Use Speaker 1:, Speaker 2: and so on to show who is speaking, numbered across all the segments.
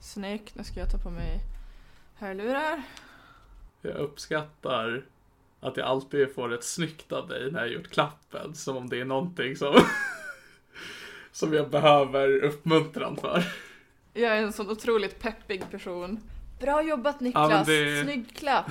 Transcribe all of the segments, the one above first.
Speaker 1: Snyggt, nu ska jag ta på mig hörlurar.
Speaker 2: Jag uppskattar att jag alltid får ett snyggt av dig när jag gjort klappen. Som om det är någonting som, som jag behöver uppmuntran för.
Speaker 1: Jag är en sån otroligt peppig person. Bra jobbat
Speaker 2: Ja, men
Speaker 1: Niklas!
Speaker 2: det-
Speaker 1: Snygg klapp!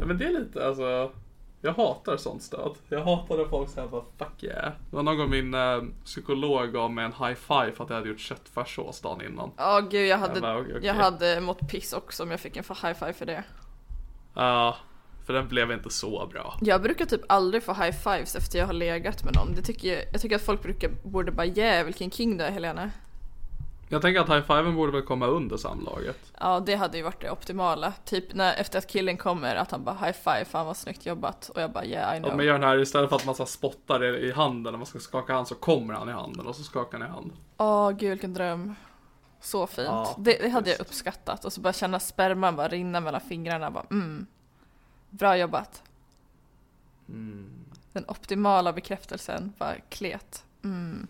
Speaker 2: Ja, Men det är lite alltså. Jag hatar sånt stöd. Jag hatar när folk säger bara fuck yeah. Det var någon gång min eh, psykolog gav mig en high five för att jag hade gjort köttfärssås dagen innan.
Speaker 1: Ja gud jag hade,
Speaker 2: Ja, men okej, okej.
Speaker 1: jag hade mått piss också om jag fick en fa- high five för det.
Speaker 2: Ja, Eh, för den blev inte så bra.
Speaker 1: Jag brukar typ aldrig få high fives efter jag har legat med någon. Det tycker jag, jag tycker att folk brukar, borde bara yeah vilken king du är Helena.
Speaker 2: Jag tänker att high fiven borde väl komma under samlaget.
Speaker 1: Ja det hade ju varit det optimala. Typ när, efter att killen kommer att han bara high five, fan vad snyggt jobbat. Och jag bara yeah I
Speaker 2: Om
Speaker 1: know.
Speaker 2: man gör den här istället för att man så här spottar i i handen när man ska skaka hand så kommer han i handen och så skakar han i handen.
Speaker 1: Åh gud vilken dröm. Så fint.
Speaker 2: Ja,
Speaker 1: det, det hade jag
Speaker 2: faktiskt.
Speaker 1: uppskattat. Och så bara känna sperman bara rinna mellan fingrarna. Bara, mm. Bra jobbat. Den optimala bekräftelsen. Bara klet. Mm.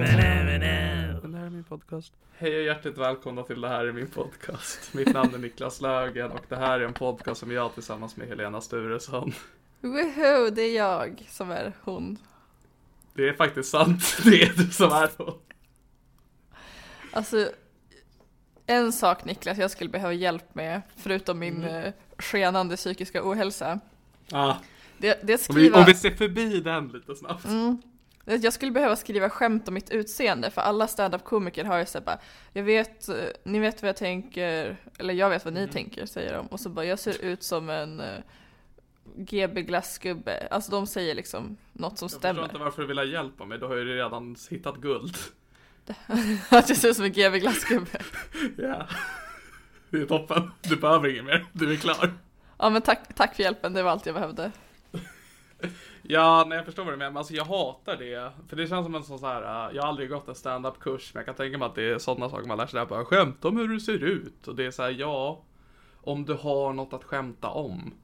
Speaker 2: Det här är min podcast. Hej och hjärtligt välkomna till Det här är min podcast. Mitt namn är Niklas Lögen och det här är en podcast som jag tillsammans med Helena Sturesson.
Speaker 1: Woho, det är jag som är hon.
Speaker 2: Det är faktiskt sant, det är du som är då.
Speaker 1: Alltså, en sak Niklas jag skulle behöva hjälp med, förutom min eh, skenande psykiska ohälsa.
Speaker 2: Ah,
Speaker 1: Det, det är att
Speaker 2: om, vi,
Speaker 1: skriva...
Speaker 2: om vi ser förbi den lite snabbt.
Speaker 1: Det- Jag skulle behöva skriva skämt om mitt utseende för alla standup-komiker har ju såhär bara Jag vet, eh, ni vet vad jag tänker, eller jag vet vad ni tänker säger de och så bara jag ser ut som en eh, GB glassgubbe. Alltså de säger liksom något som
Speaker 2: Jag förstår inte
Speaker 1: stämmer.
Speaker 2: varför du vill ha hjälp av mig, du har ju redan hittat guld.
Speaker 1: Att jag ser ut som en GB glassgubbe.
Speaker 2: Ja. Det är toppen, du behöver inget mer, du är klar.
Speaker 1: Ja men tack, tack för hjälpen, det var allt jag behövde.
Speaker 2: Ja, nej, jag förstår vad du menar. Men alltså, jag hatar det. För det känns som en sån så här, eh, jag har aldrig gått en stand-up kurs men jag kan tänka mig att det är sådana saker man lär sig där. Bara, skämt om hur du ser ut. Och det är så här, ja, om du har något att skämta om.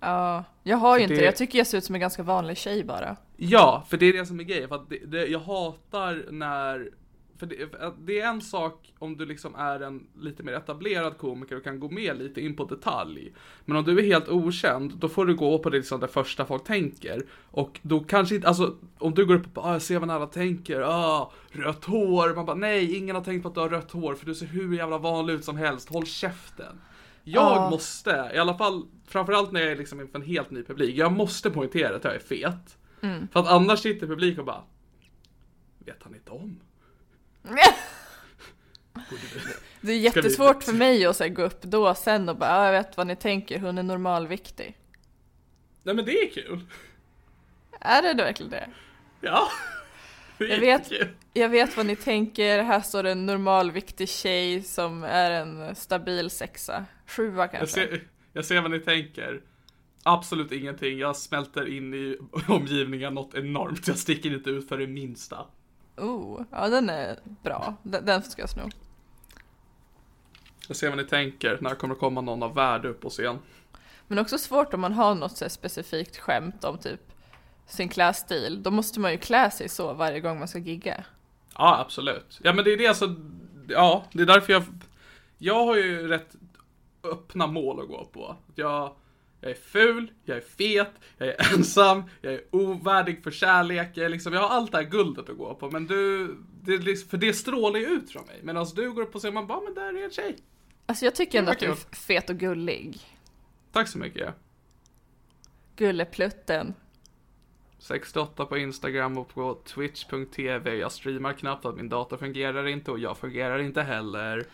Speaker 1: Ja, jag har ju
Speaker 2: För
Speaker 1: inte
Speaker 2: det-
Speaker 1: det. Jag tycker jag ser ut som en ganska vanlig tjej bara.
Speaker 2: Ja, för det är det som är grejen. För att det, det, jag hatar när... För det, för att det är en sak om du liksom är en lite mer etablerad komiker och kan gå med lite in på detalj. Men om du är helt okänd, då får du gå på det, liksom det första folk tänker. Och då kanske inte, alltså om du går upp och bara, ah, jag ser vad alla tänker, ah, rött hår. Man bara, nej, ingen har tänkt på att du har rött hår för du ser hur jävla vanlig ut som helst, håll käften. Jag
Speaker 1: Ja.
Speaker 2: måste, i alla fall framförallt när jag är liksom inför en helt ny
Speaker 1: Mm.
Speaker 2: publik, jag måste poängtera att jag är fet. För att annars sitter publiken och bara vet han inte om.
Speaker 1: Det är jättesvårt för mig att så här, gå upp då sen och bara ah, jag vet vad ni tänker, hon är normalviktig.
Speaker 2: Nej men det är kul.
Speaker 1: Är det verkligen det?
Speaker 2: Ja. Det är
Speaker 1: Jag vet,
Speaker 2: jättekul.
Speaker 1: jag vet vad ni tänker, här står en normalviktig tjej som är en stabil sexa. Sjua
Speaker 2: Jag
Speaker 1: kanske.
Speaker 2: ser, jag ser vad ni tänker. Absolut ingenting. Jag smälter in i omgivningen något enormt. Jag sticker inte ut för det minsta.
Speaker 1: Oh, ja den är bra. Den, den ska jag sno.
Speaker 2: Jag ser vad ni tänker. När kommer det komma någon av värde upp på scen?
Speaker 1: Men också svårt om man har något så här specifikt skämt om typ sin klädstil. Då måste man ju klä sig så varje gång man ska gigga.
Speaker 2: Ja, absolut. Ja, men det är det alltså. Ja, det är därför jag. Jag har ju rätt öppna mål att gå på. Jag, jag är ful, jag är fet, jag är ensam, jag är ovärdig för kärlek. Jag, är liksom, jag har allt det här guldet att gå på. Men du, det är liksom, för det strålar ju ut från mig. Medan du går upp och säger man bara, men där är en tjej.
Speaker 1: Alltså jag tycker ändå
Speaker 2: Det
Speaker 1: att du är
Speaker 2: var kul.
Speaker 1: f- fet och gullig.
Speaker 2: Tack så mycket.
Speaker 1: Gulleplutten.
Speaker 2: 68 på Instagram och på twitch.tv. Jag streamar knappt för att min dator fungerar inte och jag fungerar inte heller.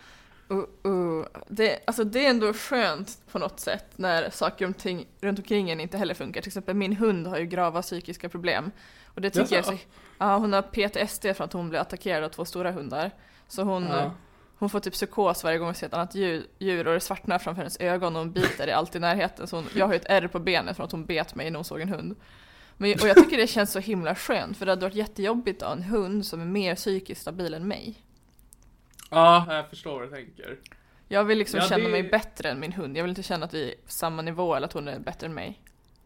Speaker 1: Uh, uh. Det, alltså det är ändå skönt på något sätt när saker och ting runt omkring en inte heller funkar. Till exempel min hund har ju grava psykiska problem. Och det tycker jag är så,
Speaker 2: Jaså?
Speaker 1: ja, hon har PTSD för att hon blev attackerad av två stora hundar. Så hon,
Speaker 2: Ja.
Speaker 1: hon får typ psykos varje gång hon ser ett annat djur, djur och det svartnar framför hennes ögon och hon biter i allt i närheten. Så hon, jag har ju ett ärr på benet från att hon bet mig när hon såg en hund. Men, och jag tycker det känns så himla skönt för det hade varit jättejobbigt att ha en hund som är mer psykiskt stabil än mig.
Speaker 2: Ja, jag förstår vad du tänker.
Speaker 1: Jag vill liksom
Speaker 2: Ja,
Speaker 1: känna
Speaker 2: det-
Speaker 1: mig bättre än min hund. Jag vill inte känna att vi är på samma nivå eller att hon är bättre än mig.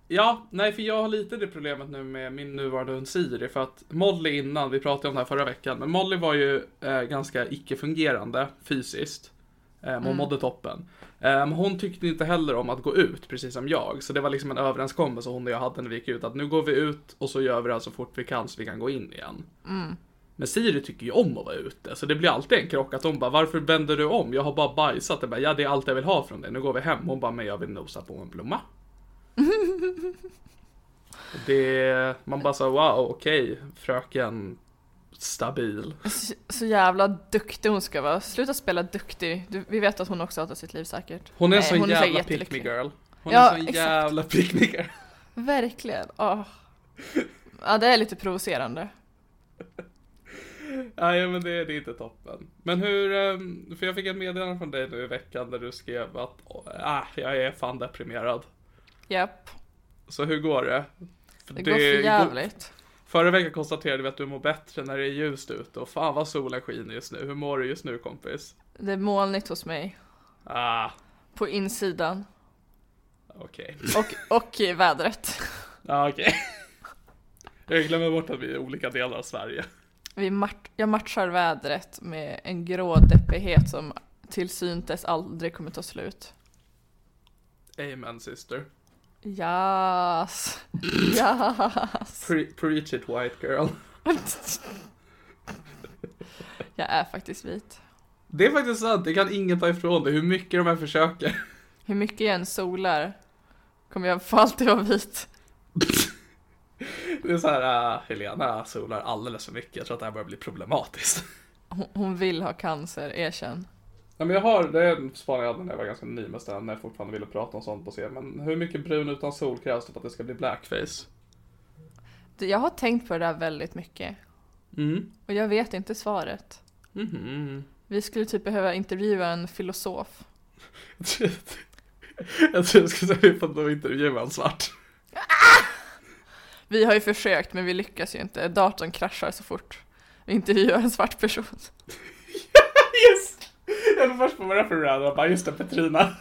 Speaker 2: Ja, nej för jag har lite det problemet nu med min nuvarande hund Siri för att Molly innan, vi pratade om det här förra veckan, men Molly var ju eh, ganska icke-fungerande fysiskt. Eh, hon mådde toppen. Eh, men hon tyckte inte heller om att gå ut, precis som jag. Så det var liksom en överenskommelse hon och jag hade när vi gick ut att nu går vi ut och så gör vi det här så fort vi kan så vi kan gå in igen. Men Siri tycker ju om att vara ute, så det blir alltid en krock att hon bara varför vänder du om? Jag har bara bajsat. Jag bara, ja det är allt jag vill ha från dig, nu går vi hem. Hon bara, men jag vill nosa på en blomma. Och Det, man bara så wow, okej, fröken stabil.
Speaker 1: Så, så jävla duktig hon ska vara. Sluta spela duktig. Du, vi vet att hon också hatar sitt liv säkert.
Speaker 2: Hon är en
Speaker 1: Nej,
Speaker 2: sån
Speaker 1: hon är så
Speaker 2: jävla
Speaker 1: jättelycklig.
Speaker 2: pick me girl. Hon
Speaker 1: Ja,
Speaker 2: är en sån
Speaker 1: exakt.
Speaker 2: jävla pick me girl.
Speaker 1: Verkligen. Åh. Ja, det är lite provocerande.
Speaker 2: Nej men det, det är inte toppen. Men hur, ehm, för jag fick ett meddelande från dig nu i veckan där du skrev att ah, jag är fan deprimerad.
Speaker 1: Japp.
Speaker 2: Så hur går det? För
Speaker 1: Det, går för jävligt.
Speaker 2: Förra veckan konstaterade vi att du mår bättre när det är ljust ute och fan vad solen skiner just nu. Hur mår du just nu kompis?
Speaker 1: Det är molnigt hos mig.
Speaker 2: Ah,
Speaker 1: På insidan.
Speaker 2: okej.
Speaker 1: Och, och i vädret.
Speaker 2: Ja, okej. Jag glömmer bort att vi är i olika delar av Sverige.
Speaker 1: Vi mat- jag matchar vädret med en grå deppighet som till syntes aldrig kommer ta slut.
Speaker 2: Amen sister.
Speaker 1: Yes. Yes.
Speaker 2: Pre- preach it white girl.
Speaker 1: Jag är faktiskt vit.
Speaker 2: Det är faktiskt sant, det kan ingen ta ifrån dig hur mycket de här försöker.
Speaker 1: Hur mycket jag än solar kommer jag för alltid vara vit.
Speaker 2: Det är så här, äh, Helena solar alldeles för mycket, jag tror att det här börjar bli problematiskt.
Speaker 1: Hon, hon vill ha cancer, erkänn.
Speaker 2: Nej men jag har, det är en spaning jag hade när jag var ganska ny med stand, när jag fortfarande ville prata om sånt på scen. Men hur mycket brun utan sol krävs det för att det ska bli blackface?
Speaker 1: Du, Jag har tänkt på det där väldigt mycket.
Speaker 2: Mm.
Speaker 1: Och jag vet inte svaret.
Speaker 2: Mhm.
Speaker 1: Vi skulle typ behöva intervjua en filosof.
Speaker 2: Jag tror jag tror jag skulle säga att de intervjuar en svart.
Speaker 1: Vi har ju försökt men vi lyckas ju inte. Datorn kraschar så fort vi intervjuar en svart person.
Speaker 2: Just! Jag höll först på vad det för random, jag bara just det, Petrina.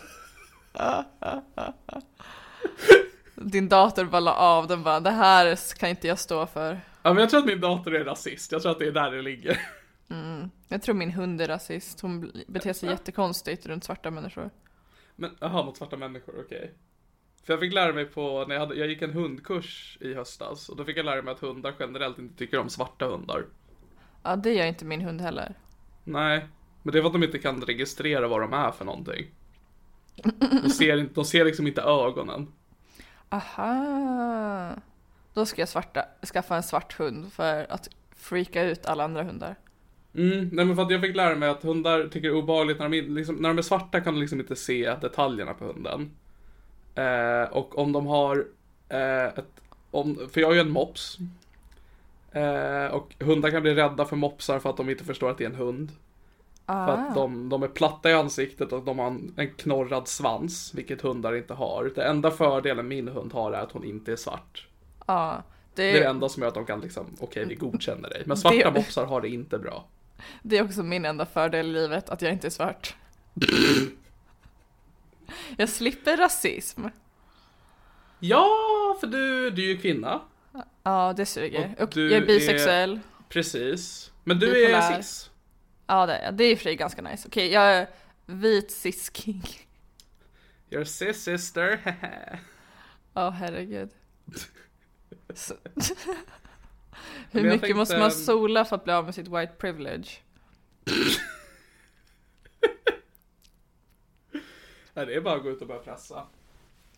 Speaker 1: Din dator bara la av, den bara det här kan inte jag stå för.
Speaker 2: Ja men jag tror att min dator är rasist, jag tror att det är där det ligger.
Speaker 1: Jag tror min hund är rasist, hon bl- beter sig jättekonstigt runt svarta människor.
Speaker 2: Men jaha, mot svarta människor, okej. För jag fick lära mig på, när jag, hade, jag gick en hundkurs i höstas och då fick jag lära mig att hundar generellt inte tycker om svarta hundar.
Speaker 1: Ja, det gör inte min hund heller.
Speaker 2: Nej, men det är för att de inte kan registrera vad de är för någonting. De ser, inte, de ser liksom inte ögonen.
Speaker 1: Aha! Då ska jag svarta, skaffa en svart hund för att freaka ut alla andra hundar.
Speaker 2: Mm, nej men för att jag fick lära mig att hundar tycker det är obehagligt när de, in- liksom, när de är svarta kan du liksom inte se detaljerna på hunden. Eh, och om de har eh, ett, om, för jag är ju en mops. Eh, och hundar kan bli rädda för mopsar för att de inte förstår att det är en hund. För att de, de är platta i ansiktet och de har en, en knorrad svans, vilket hundar inte har. Det enda fördelen min hund har är att hon inte är svart.
Speaker 1: Ja, det
Speaker 2: Det är det
Speaker 1: är,
Speaker 2: enda som gör att de kan liksom, okej vi godkänner dig. Men svarta
Speaker 1: Eh. Det-
Speaker 2: mopsar har det inte bra.
Speaker 1: det är också min enda fördel i livet, att jag inte är svart. jag slipper rasism.
Speaker 2: Ja, för du, du är ju kvinna.
Speaker 1: Ja, det suger.
Speaker 2: Och
Speaker 1: Och
Speaker 2: du
Speaker 1: jag är bisexuell.
Speaker 2: Precis. Men du
Speaker 1: Bipolär.
Speaker 2: är cis.
Speaker 1: Ja, det är jag. Det är i och för sig ganska nice. Okej, jag är vit cis-king.
Speaker 2: You're cis sister.
Speaker 1: Ja, herregud. Så-
Speaker 2: Men
Speaker 1: Hur
Speaker 2: jag
Speaker 1: mycket
Speaker 2: tänkte-
Speaker 1: måste man sola för att bli av med sitt white privilege?
Speaker 2: Nej, det är bara att gå ut och börja pressa.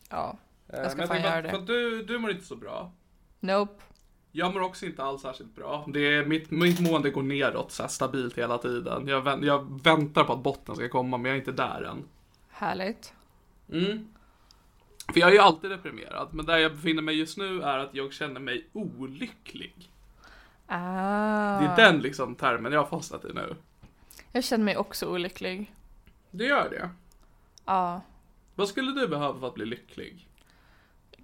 Speaker 1: Ja,
Speaker 2: Eh,
Speaker 1: jag ska
Speaker 2: men
Speaker 1: fan
Speaker 2: tänkte
Speaker 1: göra
Speaker 2: att-
Speaker 1: det.
Speaker 2: För att du, du mår inte så bra.
Speaker 1: Nope.
Speaker 2: Jag mår också inte alls särskilt bra. Det är, mitt, mitt mående går neråt så här stabilt hela tiden. Jag, vänt, jag väntar på att botten ska komma, men jag är inte där än.
Speaker 1: Härligt.
Speaker 2: Mm. För jag är ju alltid deprimerad, men där jag befinner mig just nu är att jag känner mig olycklig.
Speaker 1: Ah.
Speaker 2: Det är den liksom termen jag har fastnat i nu.
Speaker 1: Jag känner mig också olycklig.
Speaker 2: Det gör det.
Speaker 1: Ja,
Speaker 2: Vad skulle du behöva för att bli lycklig?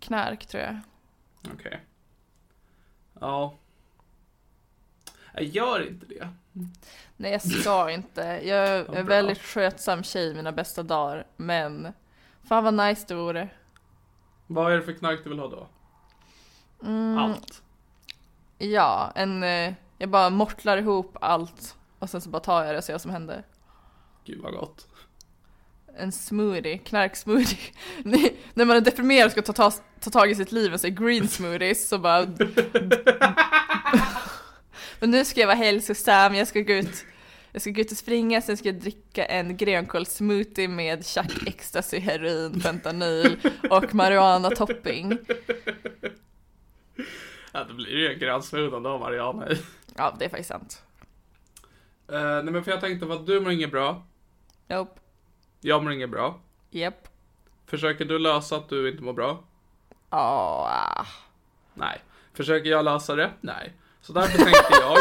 Speaker 1: knark tror jag.
Speaker 2: Okej. Ja. Jag gör inte det.
Speaker 1: Nej, jag ska inte. Jag är
Speaker 2: bra.
Speaker 1: en väldigt skötsam tjej i mina bästa dagar, men fan vad nice det vore.
Speaker 2: Vad är det för knark du vill ha då? Allt.
Speaker 1: Mm, Ja, en, eh, jag bara mortlar ihop allt och sen så bara tar jag det och ser vad som händer.
Speaker 2: Gud vad gott.
Speaker 1: En smoothie, knarksmoothie. Ni- När man är deprimerad och ska ta, ta, ta tag i sitt liv och säga green smoothies så bara... Men nu ska jag vara hälsosam, jag ska gå ut, jag ska gå ut och springa, sen ska jag dricka en grönkålssmoothie med chack, ecstasy, heroin, fentanyl och marijuana topping.
Speaker 2: Ja, det blir ju en gränssmoothie då, Mariana. Uh,
Speaker 1: Ja, det är faktiskt sant.
Speaker 2: nej men för jag tänkte på att du mår inget bra.
Speaker 1: Nope.
Speaker 2: Jag mår inget bra.
Speaker 1: Yep.
Speaker 2: Försöker du lösa att du inte mår bra?
Speaker 1: ah
Speaker 2: Nej. Försöker jag lösa det? Nej. Så därför tänkte jag...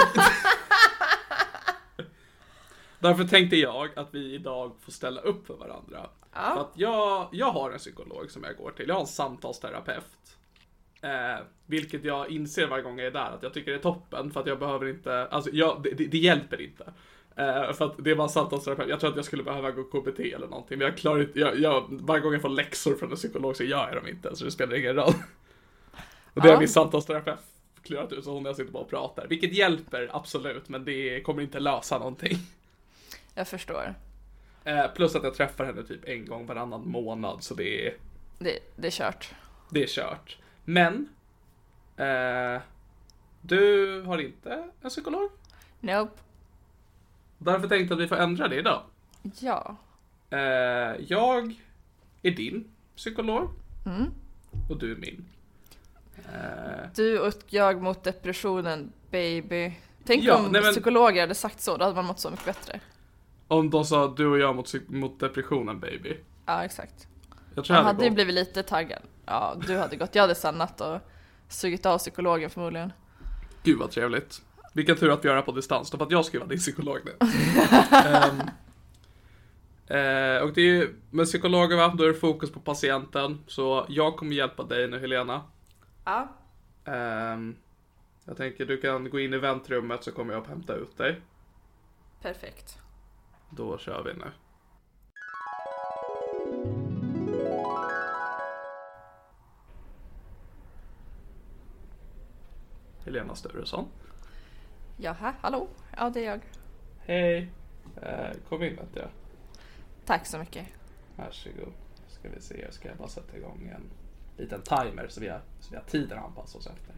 Speaker 2: därför tänkte jag att vi idag får ställa upp för varandra. För att jag, jag har en psykolog som jag går till. Jag har en samtalsterapeut. Eh, vilket jag inser varje gång jag är där att jag tycker det är toppen för att jag behöver inte, alltså jag, det, det, det hjälper inte. Eh, för att det är bara en samtalsterapeut, jag tror att jag skulle behöva gå KBT eller någonting men jag klarar inte, jag, jag, varje gång jag får läxor från en psykolog så gör jag dem inte så det spelar ingen roll. Och det har
Speaker 1: Ja.
Speaker 2: min samtalsterapeut klurat ut så hon och jag sitter bara och pratar. Vilket hjälper absolut men det kommer inte lösa någonting.
Speaker 1: Jag förstår.
Speaker 2: Eh, plus att jag träffar henne typ en gång varannan månad så det är
Speaker 1: Det, det är kört.
Speaker 2: Det är kört. Men. Eh, du har inte en psykolog.
Speaker 1: Nope.
Speaker 2: Därför tänkte jag att vi får ändra det idag.
Speaker 1: Ja.
Speaker 2: Eh, jag är din psykolog. Och du är min. Eh,
Speaker 1: Du och jag mot depressionen, baby. Tänk
Speaker 2: Ja,
Speaker 1: om
Speaker 2: nej men-
Speaker 1: psykologer hade sagt så, då hade man mått så mycket bättre.
Speaker 2: Om de sa du och jag mot, psyk- mot depressionen baby.
Speaker 1: Ja, exakt.
Speaker 2: Jag tror
Speaker 1: Jag
Speaker 2: jag
Speaker 1: hade
Speaker 2: hade
Speaker 1: ju
Speaker 2: gått.
Speaker 1: blivit lite taggad. Ja, du hade gått. Jag hade stannat och sugit av psykologen förmodligen.
Speaker 2: Gud vad trevligt. Vilken tur att vi gör det här på distans då, för att jag ska ju vara din psykolog nu. Ehm, eh, och det är ju, med psykologer va, då är det fokus på patienten. Så jag kommer hjälpa dig nu Helena.
Speaker 1: Ja.
Speaker 2: Ehm, jag tänker du kan gå in i väntrummet så kommer jag att hämta ut dig.
Speaker 1: Perfekt.
Speaker 2: Då kör vi nu. Helena Sturesson.
Speaker 1: Jaha, hallå? Ja, det är jag.
Speaker 2: Hej. Eh, kom in vet jag.
Speaker 1: Tack så mycket.
Speaker 2: Varsågod. Ska vi se, jag ska bara sätta igång en liten timer så vi har, så vi har tiden att anpassa oss efter.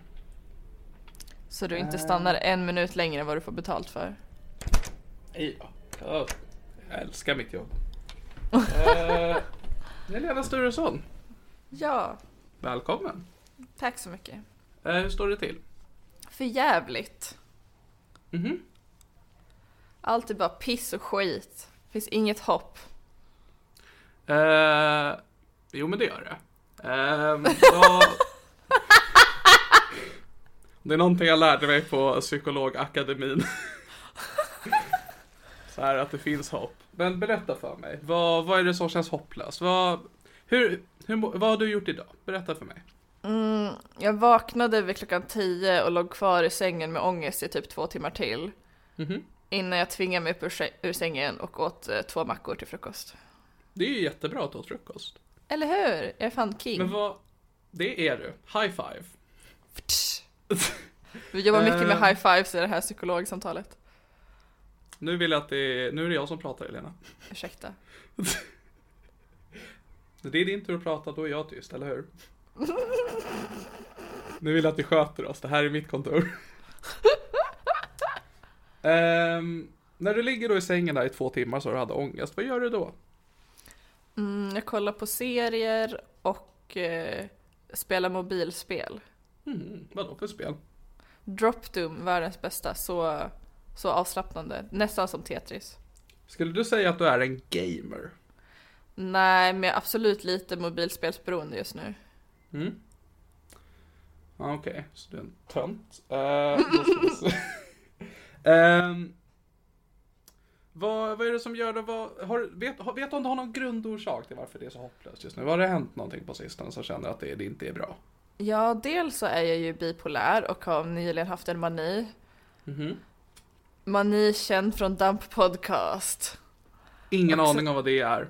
Speaker 1: Så du inte stannar en minut längre än vad du får betalt för.
Speaker 2: Hej då. Ja, Jag älskar mitt jobb. Eh, Helena Sturesson.
Speaker 1: Ja,
Speaker 2: Välkommen.
Speaker 1: tack så mycket.
Speaker 2: Eh, hur står det till?
Speaker 1: För jävligt.
Speaker 2: Mhm.
Speaker 1: Allt är bara piss och skit. Finns inget hopp.
Speaker 2: Eh, jo, men det gör det. Ehm, jag... det är någonting jag lärde mig på psykologakademin. Så här att det finns hopp. Men berätta för mig, vad, vad är det som känns hopplöst? Vad, hur, hur, må- vad har du gjort idag? Berätta för mig.
Speaker 1: Mm, jag vaknade vid klockan 10 och låg kvar i sängen med ångest i typ två timmar till.
Speaker 2: Mhm.
Speaker 1: Innan jag tvingade mig upp ur, säng- ur sängen och åt eh, två mackor till frukost.
Speaker 2: Det är ju jättebra att åt frukost.
Speaker 1: Eller hur? Jag är fan king.
Speaker 2: Men vad, det är du. High five.
Speaker 1: Vi jobbar mycket med
Speaker 2: Eh.
Speaker 1: high fives i det här psykologsamtalet.
Speaker 2: Nu vill jag att det är, nu är det jag som pratar Elena.
Speaker 1: Ursäkta.
Speaker 2: Det är din tur att prata, då är jag tyst, eller hur? Nu vill jag att vi sköter oss, det här är mitt kontor. Ehm, när du ligger då i sängen där i två timmar så du hade ångest, vad gör du då?
Speaker 1: Mm, jag kollar på serier och eh, spelar mobilspel.
Speaker 2: Hmm, vadå för spel?
Speaker 1: Drop Doom, världens bästa. Så, så avslappnande. Nästan som Tetris.
Speaker 2: Skulle du säga att du är en gamer?
Speaker 1: Nej, men jag är absolut lite mobilspelsberoende just nu.
Speaker 2: Mm. Ja, Okej, så du är en tönt. Eh, då ska vi se. Ehm, vad, vad är det som gör det? Vad, har, vet, har- vet du om du har någon grundorsak till varför det är så hopplöst just nu? Har det hänt någonting på sistone som känner att det, det inte är bra?
Speaker 1: Ja, dels så är jag ju bipolär och har nyligen haft en mani.
Speaker 2: Mhm.
Speaker 1: Mani känd från Dump Podcast.
Speaker 2: Ingen
Speaker 1: Också-
Speaker 2: aning om vad det är.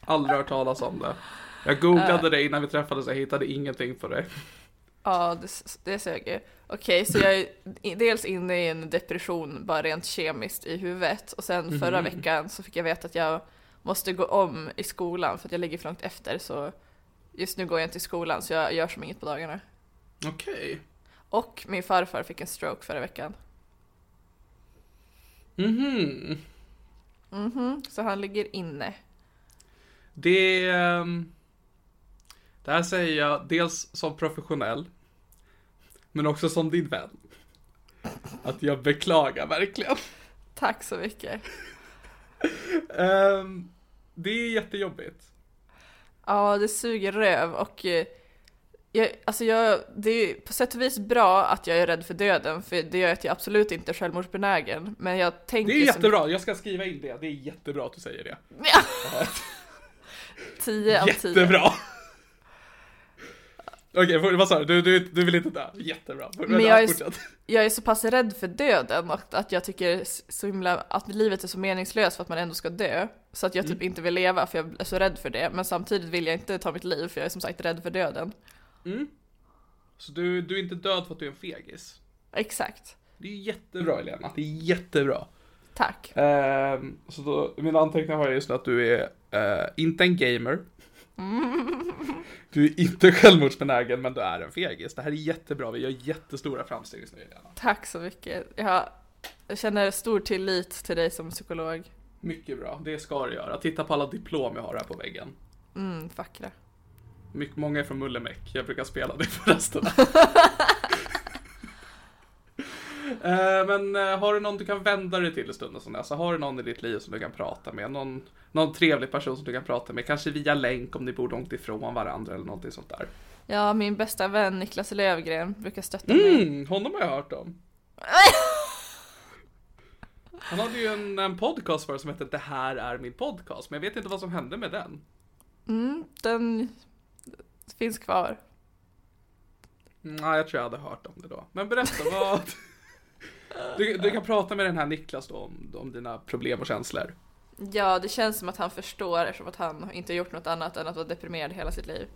Speaker 2: Aldrig hört talas om det. Jag googlade dig innan vi träffades, jag hittade ingenting på dig.
Speaker 1: Ja, det, s- det sög ju. Okej, så jag är i- dels inne i en depression bara rent kemiskt i huvudet och sen förra veckan så fick jag veta att jag måste gå om i skolan för att jag ligger för långt efter så just nu går jag inte i skolan så jag gör som inget på dagarna.
Speaker 2: Okej.
Speaker 1: Och min farfar fick en stroke förra veckan.
Speaker 2: Mhm.
Speaker 1: Mhm, så han ligger inne.
Speaker 2: Det... ehm, Det här säger jag dels som professionell, men också som din vän. Att jag beklagar verkligen.
Speaker 1: Tack så mycket.
Speaker 2: Ehm, det är jättejobbigt.
Speaker 1: Ja, det suger röv och eh, jag, alltså jag, det är på sätt och vis bra att jag är rädd för döden för det gör att jag absolut inte är självmordsbenägen. Men jag
Speaker 2: Det
Speaker 1: tänker
Speaker 2: är jättebra, jag ska skriva in det. Det är jättebra att du säger det.
Speaker 1: som... Ja. 10 av 10.
Speaker 2: Jättebra! Okej, för- vad sa du? Du, du? du vill inte dö? Jättebra.
Speaker 1: Men jag är-
Speaker 2: fortsätt.
Speaker 1: Jag är så pass rädd för döden och att jag tycker s- så himla, att livet är så meningslöst för att man ändå ska dö. Så att jag typ
Speaker 2: Mm.
Speaker 1: inte vill leva för jag är så rädd för det. Men samtidigt vill jag inte ta mitt liv för jag är som sagt rädd för döden.
Speaker 2: Så du, du är inte död för att du är en fegis?
Speaker 1: Exakt.
Speaker 2: Det är jättebra Elena, det är jättebra.
Speaker 1: Tack.
Speaker 2: Ehm, så då, mina anteckningar har jag just nu att du är eh, inte en gamer. Du är inte självmordsbenägen men du är en fegis. Det här är jättebra, vi gör jättestora framsteg just nu Helena.
Speaker 1: Tack så mycket. Jag, jag känner stor tillit till dig som psykolog.
Speaker 2: Mycket bra, det ska du göra. Titta på alla diplom jag har här på väggen.
Speaker 1: Mm, vackra.
Speaker 2: Mycket, många är från Mullemäck, jag brukar spela det på rasterna. Eh, men eh, har du någon du kan vända dig till i stunden som alltså, Har du någon i ditt liv som du kan prata med? Någon, någon trevlig person som du kan prata med? Kanske via länk om ni bor långt ifrån varandra eller någonting sånt där.
Speaker 1: Ja, min bästa vän Niklas Lövgren brukar stötta mig.
Speaker 2: Mm, honom har jag hört om. Han hade ju en, en podcast förut som hette Det här är min podcast, men jag vet inte vad som hände med den.
Speaker 1: Mm, den finns kvar.
Speaker 2: Nej, Mm, jag tror jag hade hört om det då. Men berätta, vad... Du, du kan prata med den här Niklas då om, om dina problem och känslor.
Speaker 1: Ja, det känns som att han förstår eftersom att han inte har gjort något annat än att vara deprimerad hela sitt liv.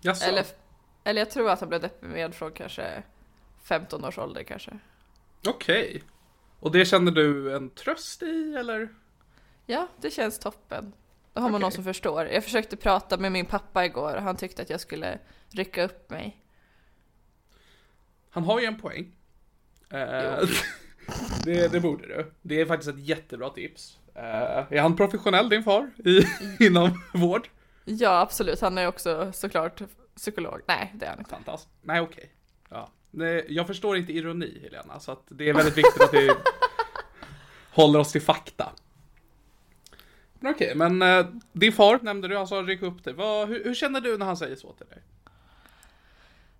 Speaker 2: Jaså?
Speaker 1: Eller, eller jag tror att han blev deprimerad från kanske 15 års ålder kanske.
Speaker 2: Okej. Och det känner du en tröst i, eller?
Speaker 1: Ja, det känns toppen. Då har man
Speaker 2: Okej.
Speaker 1: någon som förstår. Jag försökte prata med min pappa igår och han tyckte att jag skulle rycka upp mig.
Speaker 2: Han har ju en poäng. Eh, det, det borde du. Det är faktiskt ett jättebra tips. Eh, är han professionell, din far, i, inom vård?
Speaker 1: Ja, absolut. Han är också såklart psykolog. Nej, det är han inte.
Speaker 2: Fantastiskt. Nej, okej. Ja. Nej, jag förstår inte ironi, Helena, så att det är väldigt viktigt att vi håller oss till fakta. Men okej, men eh, din far nämnde du, han sa ryck upp dig. Vad, hur, hur känner du när han säger så till dig?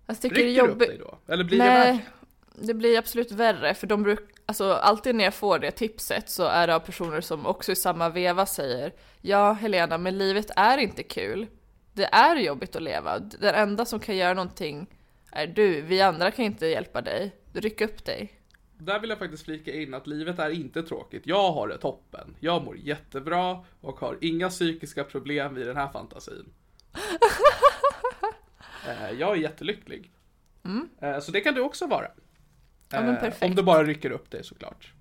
Speaker 1: Jag tycker det är
Speaker 2: Rycker du upp
Speaker 1: jobbigt.
Speaker 2: dig då? Eller blir det
Speaker 1: Nej,
Speaker 2: värre?
Speaker 1: det blir absolut värre för de brukar, alltså alltid när jag får det tipset så är det av personer som också i samma veva säger Ja Helena, men livet är inte kul. Det är jobbigt att leva. Den enda som kan göra någonting är du. Vi andra kan inte hjälpa dig. Ryck upp dig.
Speaker 2: Där vill jag faktiskt flika in att livet är inte tråkigt. Jag har det toppen. Jag mår jättebra och har inga psykiska problem i den här fantasin. Eh, jag är jättelycklig.
Speaker 1: Mm.
Speaker 2: Eh, Så det kan du också vara.
Speaker 1: Ja, men
Speaker 2: Eh,
Speaker 1: perfekt.
Speaker 2: Om du bara rycker upp dig såklart.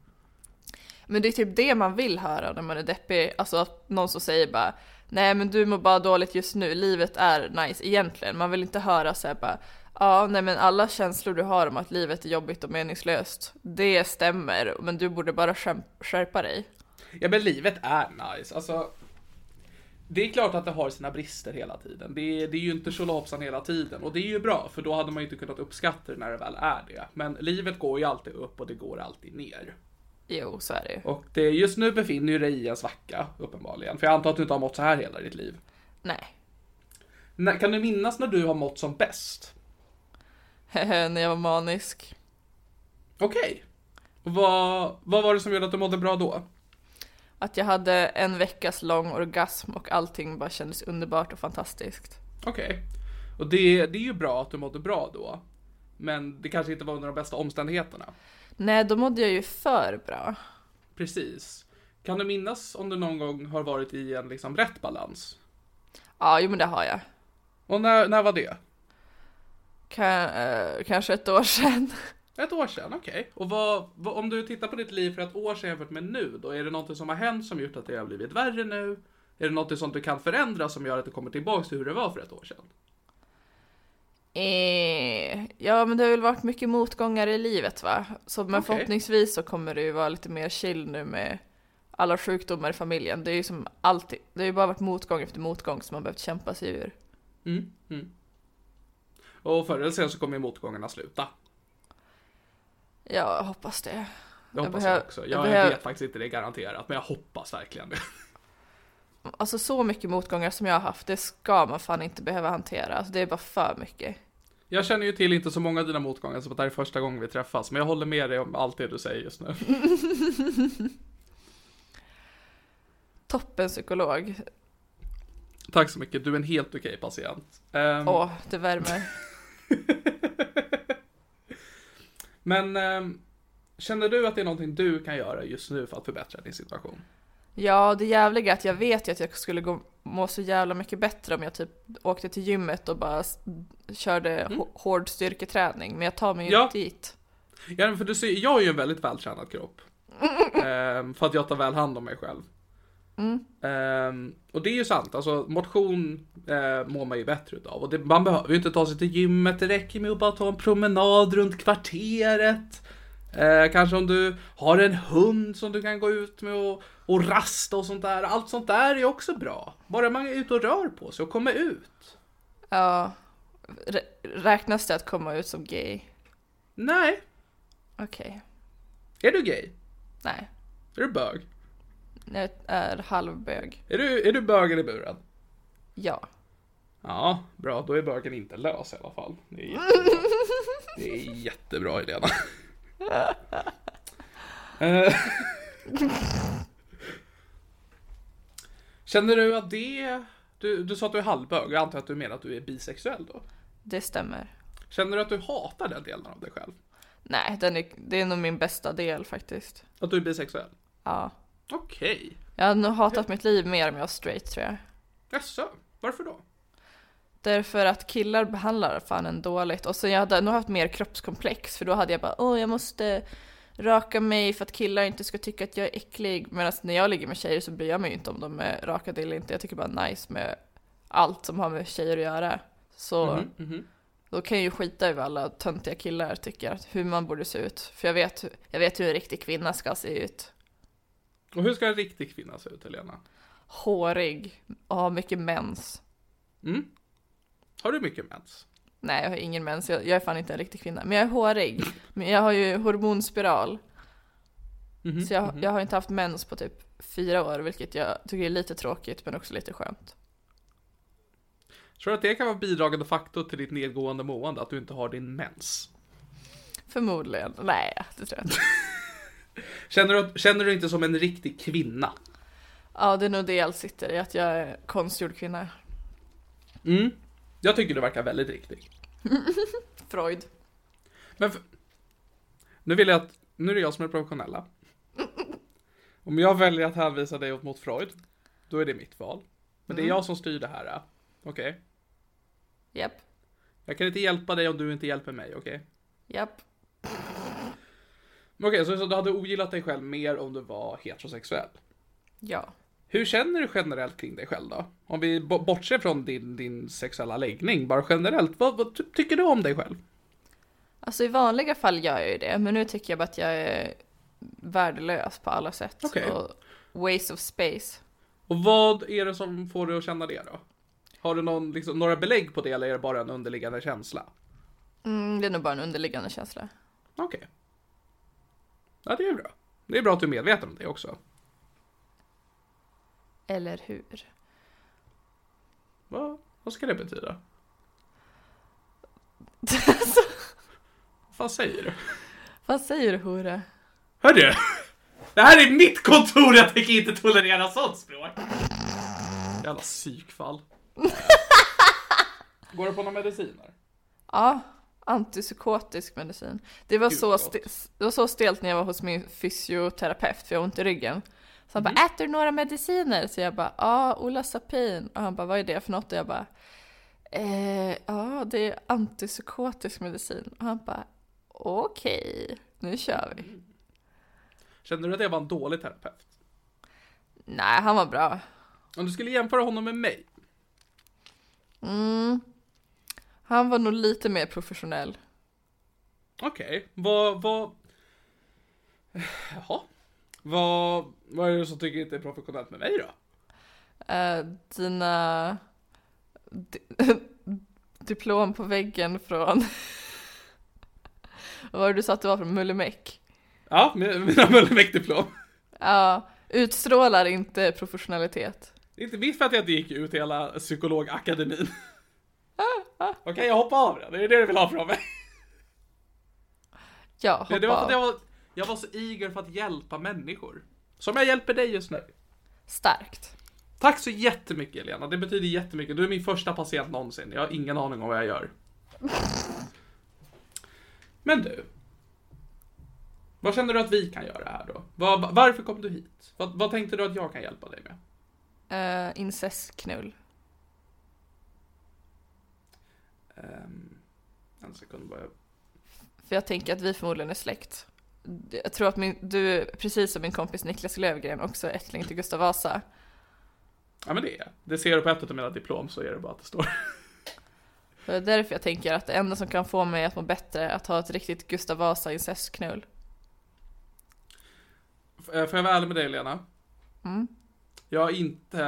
Speaker 1: Men det är typ det man vill höra när man är deppig, alltså att någon som säger bara Nej men du mår bara dåligt just nu, livet är nice egentligen. Man vill inte höra såhär bara Ja nej men alla känslor du har om att livet är jobbigt och meningslöst, det stämmer men du borde bara skäm- skärpa dig.
Speaker 2: Ja men livet är nice. Alltså, det är klart att det har sina brister hela tiden. Det är, det är ju inte tjolahoppsan hela tiden. Och det är ju bra, för då hade man ju inte kunnat uppskatta det när det väl är det. Men livet går ju alltid upp och det går alltid ner.
Speaker 1: Jo så är det ju.
Speaker 2: Och det, just nu befinner du dig i en svacka, uppenbarligen. För jag antar att du inte har mått så här hela ditt liv.
Speaker 1: Nej.
Speaker 2: När, kan du minnas när du har mått som bäst?
Speaker 1: när jag var manisk.
Speaker 2: Okej. Vad, vad var det som gjorde att du mådde bra då?
Speaker 1: Att jag hade en veckas lång orgasm och allting bara kändes underbart och fantastiskt.
Speaker 2: Okej. Och det, det är ju bra att du mådde bra då. Men det kanske inte var under de bästa omständigheterna.
Speaker 1: Nej då mådde jag ju för bra.
Speaker 2: Precis. Kan du minnas om du någon gång har varit i en liksom rätt balans?
Speaker 1: Ja jo men det har jag.
Speaker 2: Och när, när var det?
Speaker 1: Ka- eh, kanske ett år sedan.
Speaker 2: Ett år sedan, okej. Och vad, vad, om du tittar på ditt liv för ett år sedan jämfört med nu då, är det någonting som har hänt som gjort att det har blivit värre nu? Är det någonting som du kan förändra som gör att du kommer tillbaka till hur det var för ett år sedan?
Speaker 1: Eh, ja, men det har väl varit mycket motgångar i livet va? Så, men
Speaker 2: Okej.
Speaker 1: förhoppningsvis så kommer det ju vara lite mer chill nu med alla sjukdomar i familjen. Det är ju som alltid, det har ju bara varit motgång efter motgång som man behövt kämpa sig ur.
Speaker 2: Mm, mm. Och förr eller senare så kommer ju motgångarna sluta.
Speaker 1: Ja, jag hoppas det.
Speaker 2: Det
Speaker 1: Jag
Speaker 2: hoppas
Speaker 1: behöv-
Speaker 2: jag också.
Speaker 1: jag
Speaker 2: Jag,
Speaker 1: behöv-
Speaker 2: vet faktiskt inte det garanterat, men jag hoppas verkligen det.
Speaker 1: Alltså så mycket motgångar som jag har haft, det ska man fan inte behöva hantera. Alltså det är bara för mycket.
Speaker 2: Jag känner ju till inte så många av dina motgångar, så det här är första gången vi träffas, men jag håller med dig om allt det du säger just nu.
Speaker 1: Toppen psykolog.
Speaker 2: Tack så mycket, du är en helt okej patient. Ehm,
Speaker 1: Åh, det värmer.
Speaker 2: Men ehm, känner du att det är någonting du kan göra just nu för att förbättra din situation?
Speaker 1: Ja, det jävliga är att jag vet ju att jag skulle gå, må så jävla mycket bättre om jag typ åkte till gymmet och bara s- körde hå- hård styrketräning, men jag tar mig ju
Speaker 2: Ja.
Speaker 1: inte dit.
Speaker 2: Ja, men för du ser, jag är ju en väldigt vältränad kropp. Ehm, för att jag tar väl hand om mig själv. Ehm, och det är ju sant, alltså motion eh, mår man ju bättre utav. Och det, man behöver ju inte ta sig till gymmet, det räcker med att bara ta en promenad runt kvarteret. Eh, kanske om du har en hund som du kan gå ut med och, och rasta och sånt där. Allt sånt där är ju också bra. Bara man är ute och rör på sig och kommer ut.
Speaker 1: Ja, Rä- räknas det att komma ut som gay?
Speaker 2: Nej,
Speaker 1: Okej,
Speaker 2: är du gay?
Speaker 1: nej.
Speaker 2: Är du bög?
Speaker 1: Jag är halvbög.
Speaker 2: Är du, är du bögen i buren?
Speaker 1: Ja.
Speaker 2: Ja, bra. Då är bögen inte lös i alla fall. Det är jättebra, det är jättebra Helena. Eh. Känner du att det... Du, du sa att du är halvbög. Jag antar att du menar att du är bisexuell då?
Speaker 1: Det stämmer.
Speaker 2: Känner du att du hatar den delen av dig själv?
Speaker 1: Nej, den är, det är nog min bästa del faktiskt.
Speaker 2: Att du är bisexuell?
Speaker 1: Ja.
Speaker 2: Okej.
Speaker 1: Jag hade nog hatat mitt liv mer om jag var straight tror jag.
Speaker 2: Jaså? Varför då?
Speaker 1: Därför att killar behandlar fan en dåligt. Och sen jag hade nog haft mer kroppskomplex för då hade jag bara åh jag måste raka mig för att killar inte ska tycka att jag är äcklig. Medan när jag ligger med tjejer så bryr jag mig inte om de är rakade eller inte. Jag tycker bara nice med allt som har med tjejer att göra. Så
Speaker 2: Mhm, mhm.
Speaker 1: då kan jag ju skita i vad alla töntiga killar tycker, hur man borde se ut. För jag vet, hur- jag vet hur en riktig kvinna ska se ut.
Speaker 2: Och hur ska en riktig kvinna se ut Helena?
Speaker 1: Hårig och ha mycket mens.
Speaker 2: Mm? Har du mycket mens?
Speaker 1: Nej, jag har ingen mens. Jag, jag är fan inte en riktig kvinna. Men jag är hårig. Men jag har ju hormonspiral. Så jag, jag har inte haft mens på typ fyra år, vilket jag tycker är lite tråkigt men också lite skönt.
Speaker 2: Tror du att det kan vara en bidragande faktor till ditt nedgående mående, att du inte har din mens?
Speaker 1: Förmodligen. Nej, det tror jag inte.
Speaker 2: Känner du, känner du inte som en riktig kvinna?
Speaker 1: Ja, det är nog det allt sitter i, att jag är konstgjord kvinna.
Speaker 2: Mm. Jag tycker du verkar väldigt riktig.
Speaker 1: Freud.
Speaker 2: Men för... nu vill jag att, nu är det jag som är professionella. Om jag väljer att hänvisa dig åt mot Freud, då är det mitt val. Men det är jag som styr det här. äh. Okej?
Speaker 1: Japp.
Speaker 2: Jag kan inte hjälpa dig om du inte hjälper mig, okej?
Speaker 1: Japp.
Speaker 2: Men Okej, så, så du hade ogillat dig själv mer om du var heterosexuell?
Speaker 1: Ja.
Speaker 2: Hur känner du generellt kring dig själv då? Om vi bo- bortser från din, din sexuella läggning, bara generellt, vad, vad ty- tycker du om dig själv?
Speaker 1: Alltså i vanliga fall gör jag ju det, men nu tycker jag bara att jag är värdelös på alla sätt.
Speaker 2: Okej.
Speaker 1: Och waste of space.
Speaker 2: Och vad är det som får dig att känna det då? Har du någon, liksom, några belägg på det eller är det bara en underliggande känsla?
Speaker 1: Mm, det är nog bara en underliggande känsla.
Speaker 2: Okej. Ja, det är bra. Det är bra att du är medveten om det också.
Speaker 1: Eller hur?
Speaker 2: Vad, vad ska det betyda? Vad fan säger du?
Speaker 1: Vad säger du hora?
Speaker 2: Hörru! Det här är mitt kontor, jag tänker inte tolerera sånt språk! Jävla psykfall. Går du på några mediciner?
Speaker 1: Ja, antipsykotisk medicin. Det var,
Speaker 2: Gud,
Speaker 1: så,
Speaker 2: vad
Speaker 1: ste- det var så stelt när jag var hos min fysioterapeut för jag har ont i ryggen. Så han
Speaker 2: Mm.
Speaker 1: bara, äter du några mediciner? Så jag bara, ja, Olanzapin. Och han bara, vad är det för något? Och jag bara, eh, ja, det är antipsykotisk medicin. Och han bara, okej, nu kör vi.
Speaker 2: Mm. Känner du att jag var en dålig terapeut?
Speaker 1: Nej, han var bra.
Speaker 2: Om du skulle jämföra honom med mig,
Speaker 1: Han var nog lite mer professionell.
Speaker 2: Okej, vad, vad... Jaha. Vad, vad är det som tycker inte är professionellt med mig då?
Speaker 1: Eh, dina di- diplom på väggen från... Vad var det du sa att det var från Mullemäck?
Speaker 2: Ja, mi- mina Mullenbeck-diplom.
Speaker 1: Ja, utstrålar inte professionalitet.
Speaker 2: Inte minst för att jag inte gick ut hela psykologakademin. Okej, jag hoppar av det. Det är det du vill ha från mig.
Speaker 1: Ja, hoppa
Speaker 2: Det var för att
Speaker 1: av.
Speaker 2: jag var, jag var så eager för att hjälpa människor. Som jag hjälper dig just nu.
Speaker 1: Starkt.
Speaker 2: Tack så jättemycket Elena, det betyder jättemycket. Du är min första patient någonsin. Jag har ingen aning om vad jag gör. Men du. Vad känner du att vi kan göra här då? Vad- varför kom du hit? Vad, vad tänkte du att jag kan hjälpa dig med?
Speaker 1: Eh, incestknull.
Speaker 2: Ehm, en sekund bara.
Speaker 1: För jag tänker att vi förmodligen är släkt. Jag tror att min, du, precis som min kompis Niklas Lövgren, också är ättling till Gustav Vasa.
Speaker 2: Ja men det är jag. Det ser du på ett av mina diplom så är det bara att det står.
Speaker 1: Det är därför jag tänker att det enda som kan få mig att må bättre är att ha ett riktigt Gustav Vasa incestknull.
Speaker 2: F- eh, Får jag vara ärlig med dig Elena? Jag har inte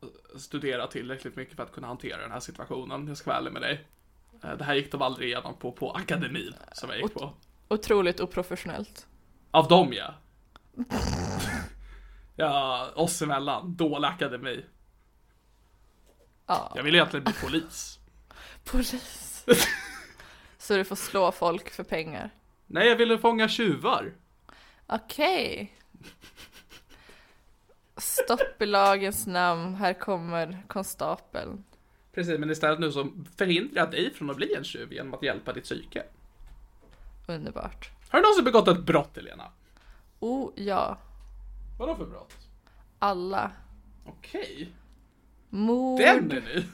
Speaker 2: eh, studerat tillräckligt mycket för att kunna hantera den här situationen. Jag ska vara ärlig med dig. Eh, Det här gick de aldrig igenom på, på akademin som jag gick på.
Speaker 1: Otroligt oprofessionellt.
Speaker 2: Av dem ja. ja, oss emellan. Dålig akademi.
Speaker 1: Ja,
Speaker 2: Jag ville egentligen bli polis.
Speaker 1: polis. Så du får slå folk för pengar.
Speaker 2: Nej, jag ville fånga tjuvar.
Speaker 1: Okej. Stopp i lagens namn, här kommer konstapeln.
Speaker 2: Precis, men istället nu så förhindrar jag dig från att bli en tjuv genom att hjälpa ditt psyke.
Speaker 1: Underbart.
Speaker 2: Har du någonsin begått ett brott, Elena?
Speaker 1: Oh ja,
Speaker 2: Vadå för brott?
Speaker 1: alla.
Speaker 2: Okej,
Speaker 1: Mord,
Speaker 2: den är ny.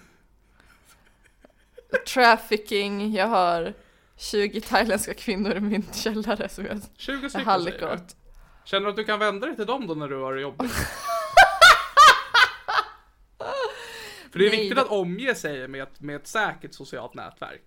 Speaker 1: trafficking, jag har 20 thailändska kvinnor i min källare som jag
Speaker 2: 20
Speaker 1: är
Speaker 2: stycken
Speaker 1: hallick
Speaker 2: säger du.
Speaker 1: åt.
Speaker 2: Känner du att du kan vända dig till dem då när du har jobbet? För det är
Speaker 1: Nej,
Speaker 2: viktigt
Speaker 1: det-
Speaker 2: att omge sig med ett, med ett säkert socialt nätverk.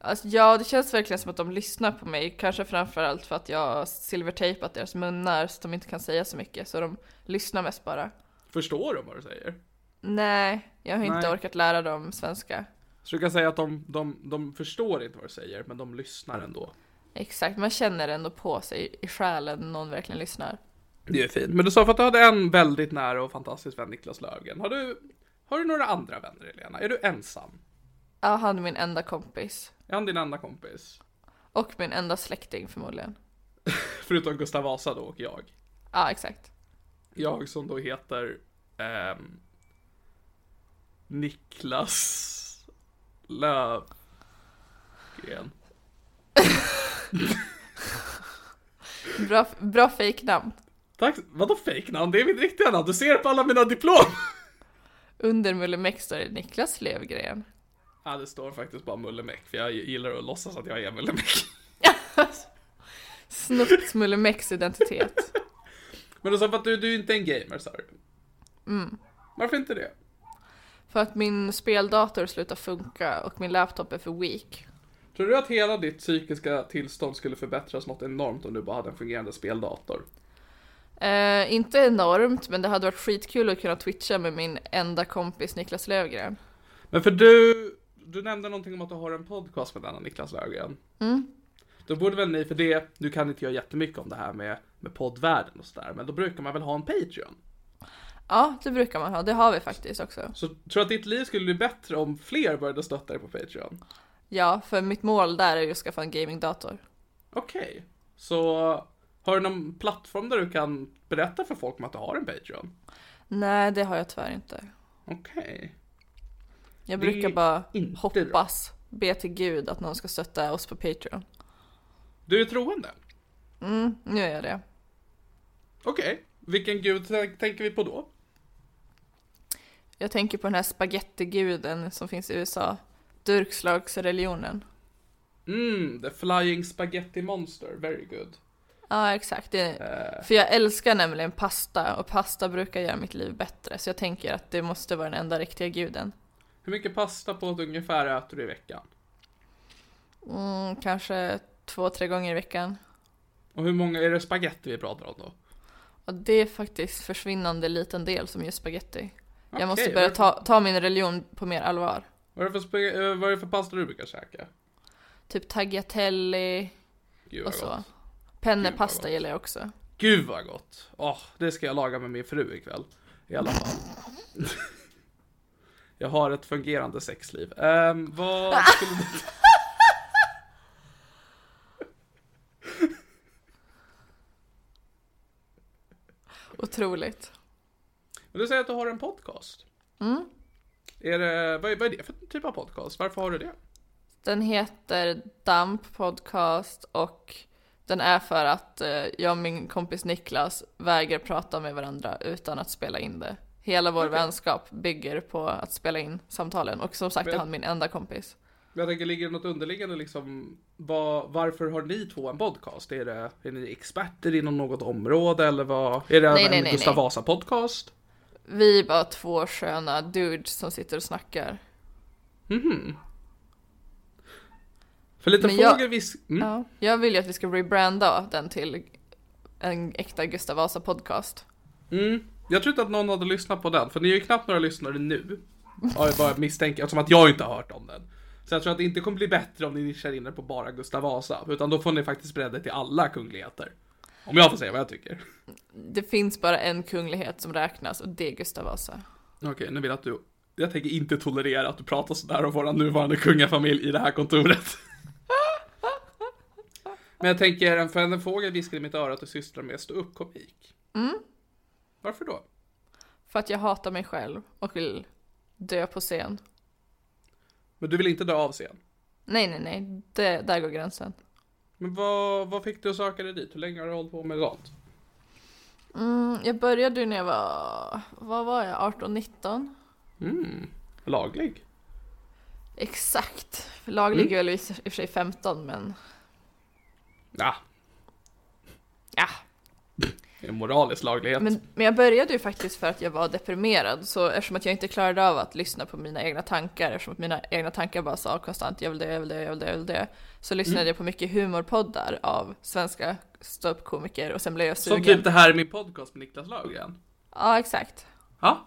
Speaker 1: Alltså, ja, det känns verkligen som att de lyssnar på mig. Kanske framförallt för att jag har silvertejpat deras munnar så de inte kan säga så mycket. Så de lyssnar mest bara.
Speaker 2: Förstår de vad du säger?
Speaker 1: Nej, jag har inte
Speaker 2: Nej.
Speaker 1: orkat lära dem svenska.
Speaker 2: Så du kan säga att de, de, de förstår inte vad du säger, men de lyssnar
Speaker 1: Mm.
Speaker 2: ändå.
Speaker 1: Exakt, man känner ändå på sig i själen när någon verkligen lyssnar.
Speaker 2: Det är fint. Men du sa för att du hade en väldigt nära och fantastisk vän, Niklas Löfgren. Har du, har du några andra vänner, Elena? Är du ensam?
Speaker 1: Ja, han är min enda kompis.
Speaker 2: Är han din enda kompis?
Speaker 1: Och min enda släkting förmodligen.
Speaker 2: Förutom Gustav Vasa då och jag.
Speaker 1: Ja, exakt.
Speaker 2: Jag som då heter ehm, Niklas Löfgren.
Speaker 1: Bra, bra fejknamn.
Speaker 2: Tack, vadå fejknamn? Det är mitt riktiga namn. Du ser på alla mina diplom!
Speaker 1: Under Mulle Meck står det Niklas Lövgren.
Speaker 2: Ja, det står faktiskt bara Mulle Meck, för jag gillar att låtsas att jag är Mulle Meck.
Speaker 1: Snott Mulle Mecks identitet.
Speaker 2: Men du sa för att du, du är inte en gamer, sa du? Varför inte det?
Speaker 1: För att min speldator slutar funka och min laptop är för weak.
Speaker 2: Tror du att hela ditt psykiska tillstånd skulle förbättras något enormt om du bara hade en fungerande speldator?
Speaker 1: Eh, inte enormt, men det hade varit skitkul att kunna twitcha med min enda kompis Niklas Lövgren.
Speaker 2: Men för du, du nämnde någonting om att du har en podcast med denna Niklas Löfgren. Då borde väl ni, för det, du kan inte göra jättemycket om det här med, med poddvärlden och sådär, men då brukar man väl ha en Patreon?
Speaker 1: Ja, det brukar man ha. Det har vi faktiskt också.
Speaker 2: Så tror du att ditt liv skulle bli bättre om fler började stötta dig på Patreon?
Speaker 1: Ja, för mitt mål där är ju att skaffa en gamingdator.
Speaker 2: Okej, så har du någon plattform där du kan berätta för folk om att du har en Patreon?
Speaker 1: Nej, det har jag tyvärr inte.
Speaker 2: Okej.
Speaker 1: Jag
Speaker 2: Det
Speaker 1: brukar
Speaker 2: är
Speaker 1: bara
Speaker 2: inte
Speaker 1: hoppas, be till gud att någon ska stötta oss på Patreon.
Speaker 2: Du är troende?
Speaker 1: Mm, nu är jag det.
Speaker 2: Okej. Vilken gud t- tänker vi på då?
Speaker 1: Jag tänker på den här spagettiguden som finns i USA. Durkslagsreligionen.
Speaker 2: Mm, the flying spaghetti monster, very good.
Speaker 1: Ja, exakt. Det,
Speaker 2: Eh.
Speaker 1: För jag älskar nämligen pasta och pasta brukar göra mitt liv bättre. Så jag tänker att det måste vara den enda riktiga guden.
Speaker 2: Hur mycket pasta på ett ungefär äter du i veckan?
Speaker 1: Mm, kanske två, tre gånger i veckan.
Speaker 2: Och hur många, är det spaghetti vi pratar om då?
Speaker 1: Och det är faktiskt försvinnande liten del som gör spaghetti.
Speaker 2: Okej,
Speaker 1: jag måste börja
Speaker 2: vad-
Speaker 1: ta, ta min religion på mer allvar.
Speaker 2: Vad är det för, spag- eh, vad är det för pasta du brukar käka?
Speaker 1: Typ tagliatelle
Speaker 2: Gud vad
Speaker 1: och så.
Speaker 2: gott.
Speaker 1: Pennepasta
Speaker 2: gott.
Speaker 1: gillar jag också.
Speaker 2: Gud vad gott! Åh, det ska jag laga med min fru ikväll. I alla fall. jag har ett fungerande sexliv. Ehm, vad skulle du...
Speaker 1: Otroligt.
Speaker 2: Men du säger att du har en podcast. Är det, vad, är, vad är det för typ av podcast? Varför har du det?
Speaker 1: Den heter Damp Podcast och den är för att eh, jag och min kompis Niklas vägrar prata med varandra utan att spela in det. Hela vår vänskap bygger på att spela in samtalen och som sagt är
Speaker 2: Men-
Speaker 1: han min enda kompis.
Speaker 2: Jag tänker, ligger det något underliggande liksom? Vad, varför har ni två en podcast? Är, det, är ni experter inom något område eller vad? Är det
Speaker 1: Nej,
Speaker 2: en
Speaker 1: nej, nej,
Speaker 2: Gustav
Speaker 1: nej.
Speaker 2: Vasa podcast?
Speaker 1: Vi är bara två sköna dudes som sitter och snackar.
Speaker 2: För lite
Speaker 1: Men jag-
Speaker 2: frågor vis... Mm.
Speaker 1: Ja. Jag vill ju att vi ska rebranda den till en äkta Gustav Vasa podcast.
Speaker 2: Mm. Jag tror inte att någon hade lyssnat på den, för ni är ju knappt några lyssnare nu. Ja, jag bara misstänker, eftersom att jag inte har hört om den. Så jag tror att det inte kommer bli bättre om ni nischar in er på bara Gustav Vasa, utan då får ni faktiskt bredda till alla kungligheter. Om jag får säga vad jag tycker.
Speaker 1: Det finns bara en kunglighet som räknas och det är Gustav Vasa.
Speaker 2: Okej, nu vill jag att du... Jag tänker inte tolerera att du pratar sådär om vår nuvarande kungafamilj i det här kontoret. Men jag tänker, en- för en fågel viskade i mitt öra att du sysslar med ståuppkomik.
Speaker 1: Mm.
Speaker 2: Varför då?
Speaker 1: För att jag hatar mig själv och vill dö på scen.
Speaker 2: Men du vill inte dö av scen?
Speaker 1: Nej, nej, nej. Det, där går gränsen.
Speaker 2: Men vad, vad fick du att söka dig dit? Hur länge har du hållit på med sånt?
Speaker 1: Mm, jag började ju när jag var, vad var jag, 18, 19?
Speaker 2: Laglig?
Speaker 1: Exakt. Laglig är väl i och för sig 15, men
Speaker 2: Ja,
Speaker 1: ja.
Speaker 2: det är moralisk laglighet.
Speaker 1: Men, men jag började ju faktiskt för att jag var deprimerad, så eftersom att jag inte klarade av att lyssna på mina egna tankar, eftersom att mina egna tankar bara sa konstant jag vill det, jag vill det, jag vill det, jag vill det, så lyssnade jag på mycket humorpoddar av svenska ståuppkomiker och sen blev jag
Speaker 2: Som
Speaker 1: sugen.
Speaker 2: typ det här är min podcast med Niklas Löfgren.
Speaker 1: Ja, exakt.
Speaker 2: Ja,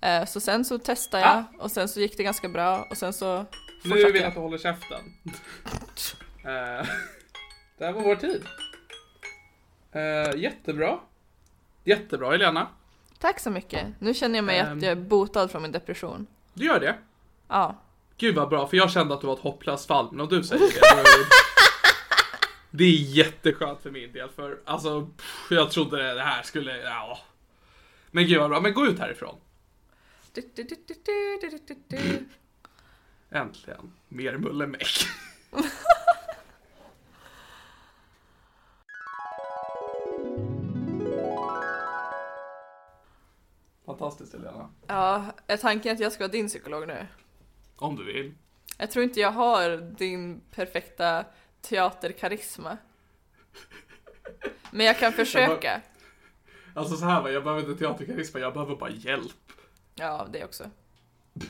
Speaker 1: Eh, Så sen så testade jag och sen så gick det ganska bra och sen så
Speaker 2: Nu vill
Speaker 1: fortsatte
Speaker 2: jag att du
Speaker 1: jag.
Speaker 2: håller käften. Eh, det här var vår tid. Eh, jättebra. Jättebra Helena.
Speaker 1: Tack så mycket. Nu känner jag mig
Speaker 2: Ehm.
Speaker 1: att jag är botad från min depression.
Speaker 2: Du gör det.
Speaker 1: Ja,
Speaker 2: Gud vad bra, för jag kände att du var ett hopplöst fall, men om du säger det. då är det- Det är jätteskönt för min del, för alltså, pff, jag trodde det- det här skulle, ja. Men gud vad bra, men gå ut härifrån.
Speaker 1: Du, du, du, du, du, du, du, du, du.
Speaker 2: Äntligen. Mer mullemäck. Fantastiskt Helena.
Speaker 1: Ja, är tanken att jag ska vara din psykolog nu?
Speaker 2: Om du vill.
Speaker 1: Jag tror inte jag har din perfekta teaterkarisma. Men jag kan försöka.
Speaker 2: Alltså så här va, jag behöver inte teaterkarisma, jag behöver bara hjälp.
Speaker 1: Ja, det också.
Speaker 2: Ja.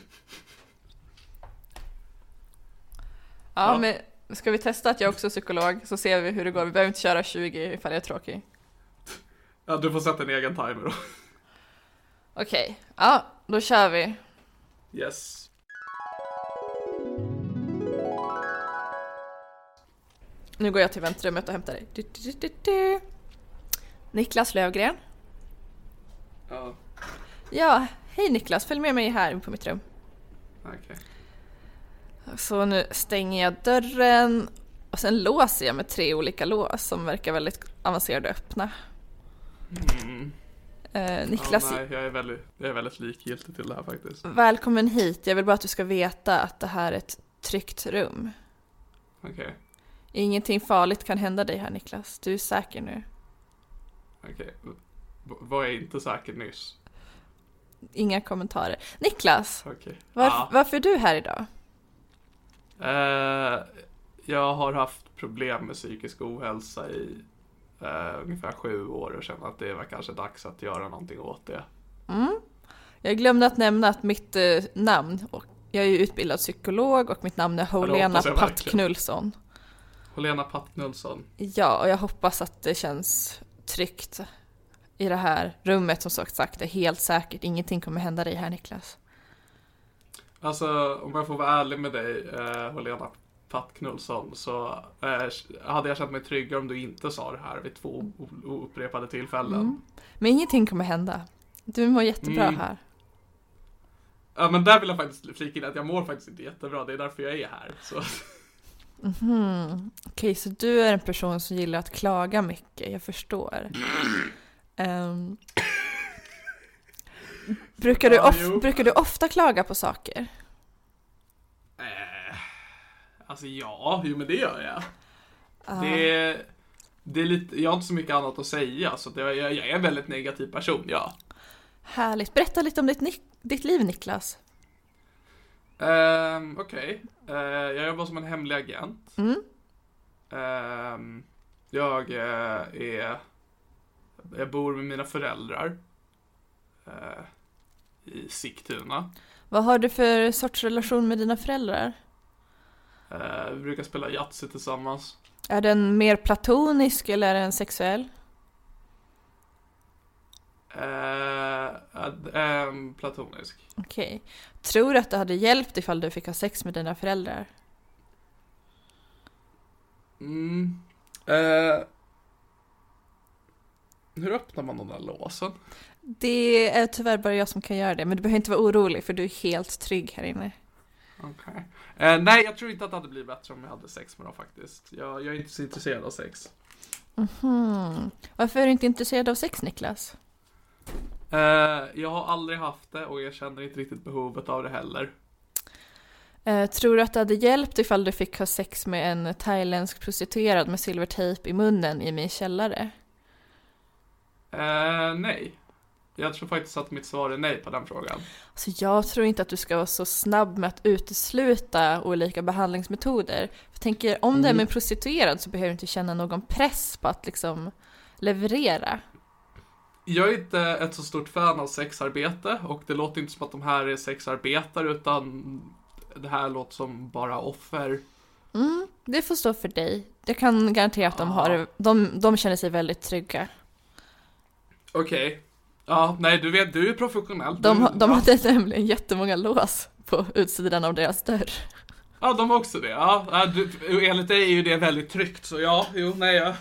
Speaker 1: Ja, men ska vi testa att jag också är psykolog så ser vi hur det går. Vi behöver inte köra 20 ifall jag är tråkig.
Speaker 2: Ja, du får sätta en egen timer då.
Speaker 1: Okej, ja, då kör vi.
Speaker 2: Yes.
Speaker 1: Nu går jag till väntrummet och hämtar dig. Du, du, du, du, du. Niklas Lövgren.
Speaker 2: Ja,
Speaker 1: Ja, hej Niklas, följ med mig här på mitt rum.
Speaker 2: okej.
Speaker 1: Så nu stänger jag dörren och sen låser jag med tre olika lås som verkar väldigt avancerade och öppna.
Speaker 2: Mm.
Speaker 1: Eh, Niklas,
Speaker 2: Ja, nej, jag är, väldigt, jag är väldigt likgiltig till det här faktiskt.
Speaker 1: välkommen hit. Jag vill bara att du ska veta att det här är ett tryggt rum.
Speaker 2: Okej,
Speaker 1: Ingenting farligt kan hända dig här Niklas, du är säker nu.
Speaker 2: okej. V- Var jag inte säker nyss?
Speaker 1: Inga kommentarer. Niklas,
Speaker 2: Okej.
Speaker 1: varf-
Speaker 2: Ja.
Speaker 1: varför är du här idag?
Speaker 2: Eh, jag har haft problem med psykisk ohälsa i eh, ungefär sju år och känner att det var kanske dags att göra någonting åt det.
Speaker 1: Jag glömde att nämna att mitt eh, namn, och jag är ju utbildad psykolog och mitt namn är
Speaker 2: hoppas
Speaker 1: Helena
Speaker 2: alltså, jag
Speaker 1: Patt
Speaker 2: verkligen.
Speaker 1: Knullsson.
Speaker 2: Helena Pattnulsson.
Speaker 1: Ja, och jag hoppas att det känns tryggt i det här rummet som sagt är helt säkert. Ingenting kommer hända dig här Niklas.
Speaker 2: Alltså, om jag får vara ärlig med dig, eh, Helena Pattknullsson, så eh, hade jag känt mig tryggare om du inte sa det här vid två o- upprepade tillfällen.
Speaker 1: Men ingenting kommer hända. Du mår jättebra
Speaker 2: Mm.
Speaker 1: här.
Speaker 2: Ja, men där vill jag faktiskt flika in att jag mår faktiskt inte jättebra, det är därför jag är här. Så.
Speaker 1: Okej, så du är en person som gillar att klaga mycket, jag förstår. Ehm. brukar, du
Speaker 2: Ja,
Speaker 1: of-
Speaker 2: jo.
Speaker 1: brukar du ofta klaga på saker?
Speaker 2: Eh, alltså ja, jo men det gör jag. Det, det är lite, jag har inte så mycket annat att säga, så det, jag, jag är en väldigt negativ person, ja.
Speaker 1: Härligt. Berätta lite om ditt, Nick- ditt liv Niklas.
Speaker 2: Ehm, Okej, Eh, jag jobbar som en hemlig agent. Ehm, jag eh, är... Jag bor med mina föräldrar. eh, I Sigtuna.
Speaker 1: Vad har du för sorts relation med dina föräldrar?
Speaker 2: Eh, vi brukar spela Yatzy tillsammans.
Speaker 1: Är den mer platonisk eller är den sexuell?
Speaker 2: Eh, ad- ehm, platonisk.
Speaker 1: Okej. Tror du att det hade hjälpt ifall du fick ha sex med dina föräldrar?
Speaker 2: Mm. Eh, hur öppnar man de där låsen?
Speaker 1: Det är tyvärr bara jag som kan göra det, men du behöver inte vara orolig för du är helt trygg här inne.
Speaker 2: Okej. Eh, nej, jag tror inte att det hade blivit bättre om jag hade sex med dem faktiskt. Jag, jag är inte så intresserad av sex.
Speaker 1: Mhm. Varför är du inte intresserad av sex, Niklas?
Speaker 2: Eh, jag har aldrig haft det och jag känner inte riktigt behovet av det heller.
Speaker 1: Eh, tror du att det hade hjälpt ifall du fick ha sex med en thailändsk prostituerad med silvertejp i munnen i min källare?
Speaker 2: Eh, nej. Jag tror faktiskt att mitt svar är nej på den frågan.
Speaker 1: Så Alltså, jag tror inte att du ska vara så snabb med att utesluta olika behandlingsmetoder. Jag tänker, om det är med en prostituerad så behöver du inte känna någon press på att liksom leverera.
Speaker 2: Jag är inte ett så stort fan av sexarbete och det låter inte som att de här är sexarbetare utan det här låter som bara offer.
Speaker 1: Det får stå för dig. Jag kan garantera att de,
Speaker 2: Ja.
Speaker 1: har, de, de känner sig väldigt trygga.
Speaker 2: Okej. Ja, nej du vet, du är professionell.
Speaker 1: De,
Speaker 2: du,
Speaker 1: har- de
Speaker 2: Mm. ja.
Speaker 1: hade nämligen jättemånga lås på utsidan av deras dörr.
Speaker 2: ja, de har också det. Ja, ja, du, enligt dig är ju det väldigt tryggt, så ja, jo, nej, ja.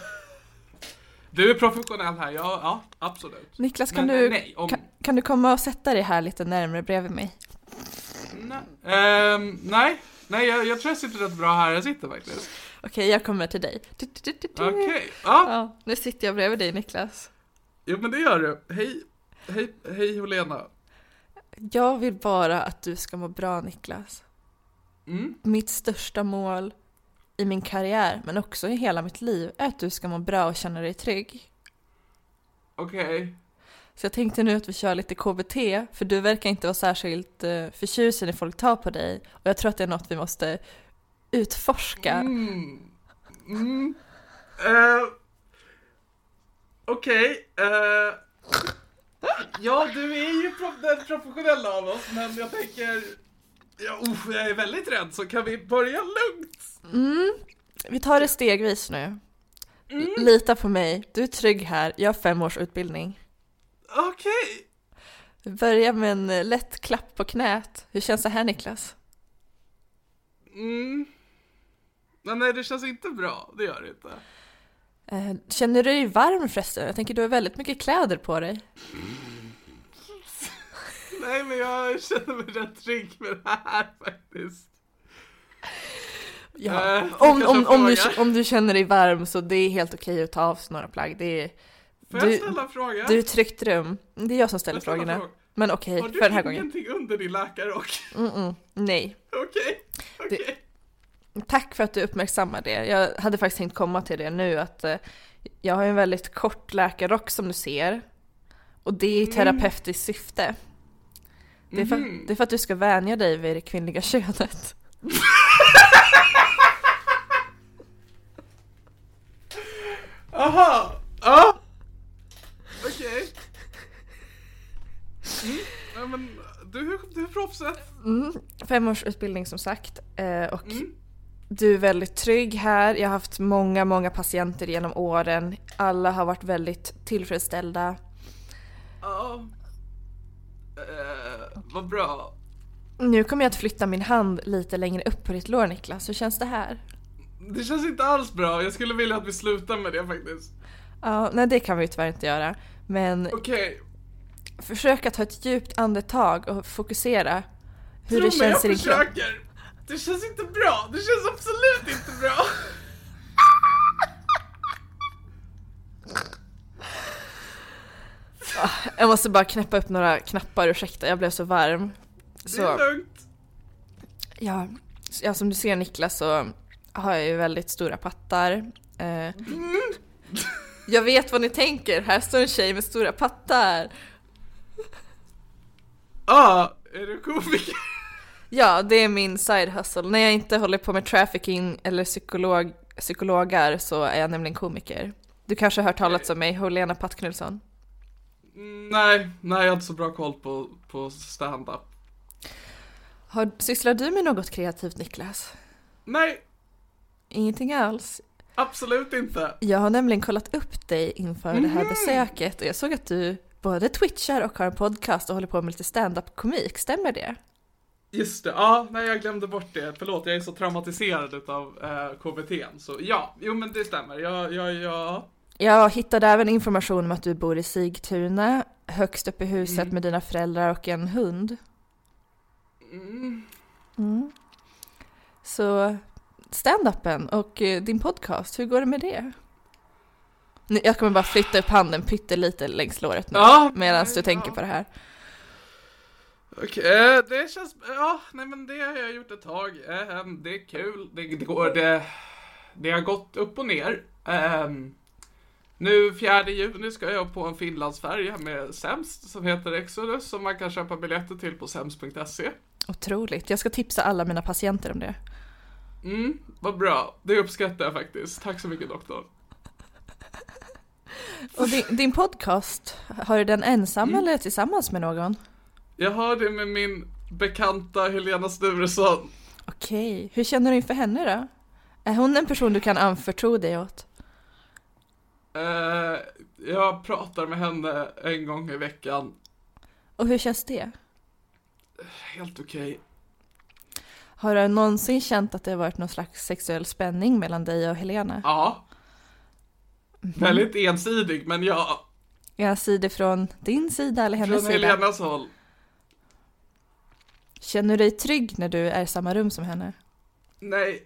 Speaker 2: Du är professionell här, ja, ja absolut.
Speaker 1: Niklas, kan,
Speaker 2: Men,
Speaker 1: du,
Speaker 2: eh, nej, om-
Speaker 1: kan, kan du komma och sätta dig här lite närmare bredvid mig?
Speaker 2: Nej, Ehm, nej, nej jag, jag tror jag sitter rätt bra här jag sitter faktiskt.
Speaker 1: Okej, jag kommer till dig. Du, du, du, du, du.
Speaker 2: Okej, ja,
Speaker 1: Ja, nu sitter jag bredvid dig Niklas.
Speaker 2: jo men det gör du. Hej, hej, hej Helena.
Speaker 1: Jag vill bara att du ska må bra Niklas.
Speaker 2: Mm.
Speaker 1: Mitt största mål i min karriär, men också i hela mitt liv, är att du ska må bra och känna dig trygg.
Speaker 2: Okej.
Speaker 1: Så jag tänkte nu att vi kör lite KBT, för du verkar inte vara särskilt eh, förtjust i när folk tar på dig. Och jag tror att det är något vi måste utforska.
Speaker 2: Mm. Mm. Eh, Okej. eh, ja, du är ju pro- den professionella av oss, men jag tänker... Ja, usch, jag är väldigt rädd, så kan vi börja lugnt?
Speaker 1: Vi tar det stegvis nu.
Speaker 2: Mm.
Speaker 1: Lita på mig, du är trygg här, jag har fem års utbildning.
Speaker 2: Okej.
Speaker 1: Börja med en eh, lätt klapp på knät. Hur känns det här Niklas?
Speaker 2: Mm. Men nej, det känns inte bra. Det gör det inte.
Speaker 1: Eh, Känner du dig varm förresten? Jag tänker du har väldigt mycket kläder på dig.
Speaker 2: Nej, men jag känner mig rätt trygg med det här faktiskt.
Speaker 1: Ja.
Speaker 2: Eh,
Speaker 1: om,
Speaker 2: kanske
Speaker 1: om, om, du,
Speaker 2: fråga.
Speaker 1: om du känner dig varm så det är helt okej att ta av sig några plagg. Det är,
Speaker 2: Får
Speaker 1: Du-
Speaker 2: jag ställa en fråga?
Speaker 1: du är i ett tryggt rum. Det är jag som ställer
Speaker 2: Jag ställer
Speaker 1: frågorna.
Speaker 2: frågor.
Speaker 1: Men okej,
Speaker 2: Har du
Speaker 1: för den här gången.
Speaker 2: ingenting under din läkarrock?
Speaker 1: Mm-mm, nej.
Speaker 2: Okej, okej.
Speaker 1: Tack för att du uppmärksammar det. Jag hade faktiskt tänkt komma till det nu att eh, jag har ju en väldigt kort läkarrock som du ser. Och det
Speaker 2: Mm.
Speaker 1: är i terapeutiskt syfte. Det är, för,
Speaker 2: Mm-hmm.
Speaker 1: det är för att du ska vänja dig vid det kvinnliga könet.
Speaker 2: Aha! Ja! Okej. Mm. Ja, men du, du är proffset.
Speaker 1: Fem års utbildning som sagt. eh, Och
Speaker 2: Mm.
Speaker 1: du är väldigt trygg här. Jag har haft många, många patienter genom åren. Alla har varit väldigt tillfredsställda.
Speaker 2: Ja. Eh, vad bra.
Speaker 1: Nu kommer jag att flytta min hand lite längre upp på ditt lår Niklas. Hur känns det här?
Speaker 2: Det känns inte alls bra. Jag skulle vilja att vi slutar med det faktiskt.
Speaker 1: Ja, nej det kan vi ju tyvärr inte göra. Men
Speaker 2: Okej.
Speaker 1: Försök att ta ett djupt andetag och fokusera hur det
Speaker 2: Tro mig,
Speaker 1: känns i
Speaker 2: jag
Speaker 1: din kropp.
Speaker 2: försöker. Det känns inte bra. Det känns absolut inte bra.
Speaker 1: Jag måste bara knäppa upp några knappar, ursäkta jag blev så varm.
Speaker 2: Det
Speaker 1: Så,
Speaker 2: är lugnt.
Speaker 1: ja, s- ja, som du ser Niklas så har jag ju väldigt stora pattar. Eh,
Speaker 2: Mm.
Speaker 1: jag vet vad ni tänker, här står en tjej med stora pattar.
Speaker 2: Ja, Ah, är du komiker?
Speaker 1: Ja, det är min side hustle. När jag inte håller på med trafficking eller psykolog, psykologar så är jag nämligen komiker. Du kanske har hört talas om mig, Helena Pattknulsson?
Speaker 2: Mm, Nej, nej jag har inte så bra koll på, på stand-up.
Speaker 1: Har, sysslar du med något kreativt Niklas?
Speaker 2: Nej,
Speaker 1: Ingenting alls.
Speaker 2: absolut inte.
Speaker 1: Jag har nämligen kollat upp dig inför det här besöket och jag såg att du både twitchar och har en podcast och håller på med lite stand-up-komik, stämmer det?
Speaker 2: Just det, ja, nej jag glömde bort det. Förlåt, jag är så traumatiserad utav eh, KBT. Så ja, jo men det stämmer. Jag, jag, jag...
Speaker 1: Jag hittade även information om att du bor i Sigtuna, högst upp i huset med dina föräldrar och en hund.
Speaker 2: Mm.
Speaker 1: Så stand-upen och eh, din podcast, hur går det med det? Nu- Jag kommer bara flytta upp handen pyttelite längs låret nu
Speaker 2: Ja,
Speaker 1: medan
Speaker 2: nej,
Speaker 1: du tänker
Speaker 2: ja.
Speaker 1: på det här.
Speaker 2: Okej, eh, det känns... Ja, nej men det har jag gjort ett tag. Eh, ehm, det är kul. Det, det går... Det, det har gått upp och ner. Ehm, nu 4 juni ska jag på en Finlandsfärja med Sämst som heter Exodus som man kan köpa biljetter till på sämst.se.
Speaker 1: Otroligt, jag ska tipsa alla mina patienter om det.
Speaker 2: Mm, vad bra. Det uppskattar jag faktiskt. Tack så mycket doktorn.
Speaker 1: Och din, din podcast, har du den ensam
Speaker 2: Mm.
Speaker 1: eller tillsammans med någon?
Speaker 2: Jag har det med min bekanta Helena Sturesson.
Speaker 1: Okej, hur känner du inför henne då? Är hon en person du kan anförtro dig åt?
Speaker 2: Eh, Jag pratar med henne en gång i veckan.
Speaker 1: Och hur känns det?
Speaker 2: Helt okej.
Speaker 1: Har du någonsin känt att det har varit någon slags sexuell spänning mellan dig och Helena?
Speaker 2: Ja.
Speaker 1: Mhm.
Speaker 2: Väldigt ensidig, men ja.
Speaker 1: Är sidor från din sida eller hennes
Speaker 2: Från
Speaker 1: sida?
Speaker 2: Helenas håll.
Speaker 1: Känner du dig trygg när du är i samma rum som henne?
Speaker 2: Nej.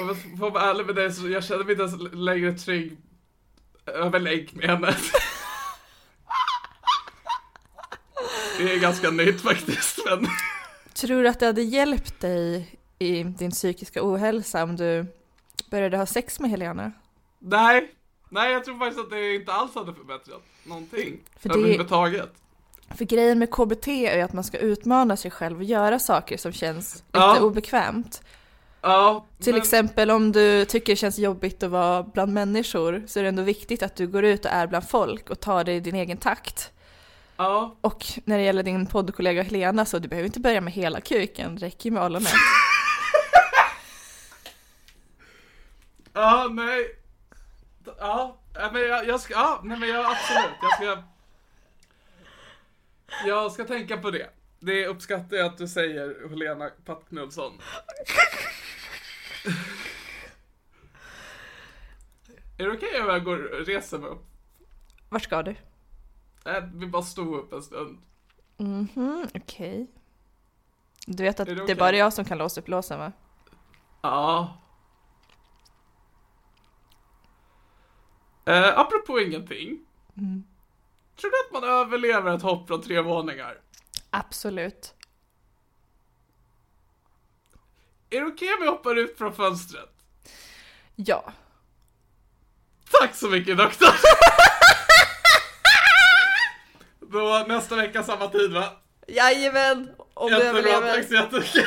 Speaker 2: Om jag får vara ärlig med dig så jag känner mig inte ens längre trygg över länk med henne. Det är ganska nytt faktiskt, men
Speaker 1: Tror du att det hade hjälpt dig i din psykiska ohälsa om du började ha sex med Helena?
Speaker 2: nej. Nej, jag tror faktiskt att det inte alls hade förbättrat någonting.
Speaker 1: För det-
Speaker 2: överhuvudtaget.
Speaker 1: För grejen med KBT är ju att man ska utmana sig själv och göra saker som känns lite
Speaker 2: Ja.
Speaker 1: obekvämt.
Speaker 2: Ja,
Speaker 1: Till
Speaker 2: men-
Speaker 1: exempel om du tycker det känns jobbigt att vara bland människor så är det ändå viktigt att du går ut och är bland folk och tar det i din egen takt.
Speaker 2: Ja,
Speaker 1: Och när det gäller din poddkollega Helena så du behöver inte börja med hela kuken, det räcker ju med ollonet.
Speaker 2: ja, nej. Ja, nej, men jag, jag ska, ja, nej men jag absolut, jag ska. Jag ska tänka på det. Det uppskattar jag att du säger, Helena Pattknullsson. Är det okej om jag går och reser mig upp?
Speaker 1: Vart ska du?
Speaker 2: Nej, vi bara stod upp en stund.
Speaker 1: Mhm, okej. Du vet att
Speaker 2: Är det
Speaker 1: det,
Speaker 2: okej?
Speaker 1: är bara jag som kan låsa upp låsen va?
Speaker 2: Ja. Eh, apropå ingenting.
Speaker 1: Mm.
Speaker 2: Tror du att man överlever ett hopp från tre våningar?
Speaker 1: Absolut.
Speaker 2: Är det okej om jag hoppar ut från fönstret?
Speaker 1: Ja.
Speaker 2: Tack så mycket doktor! Då nästa vecka samma tid va?
Speaker 1: Jajamän! Om du
Speaker 2: Jättebra,
Speaker 1: överlever.
Speaker 2: tack så jättemycket!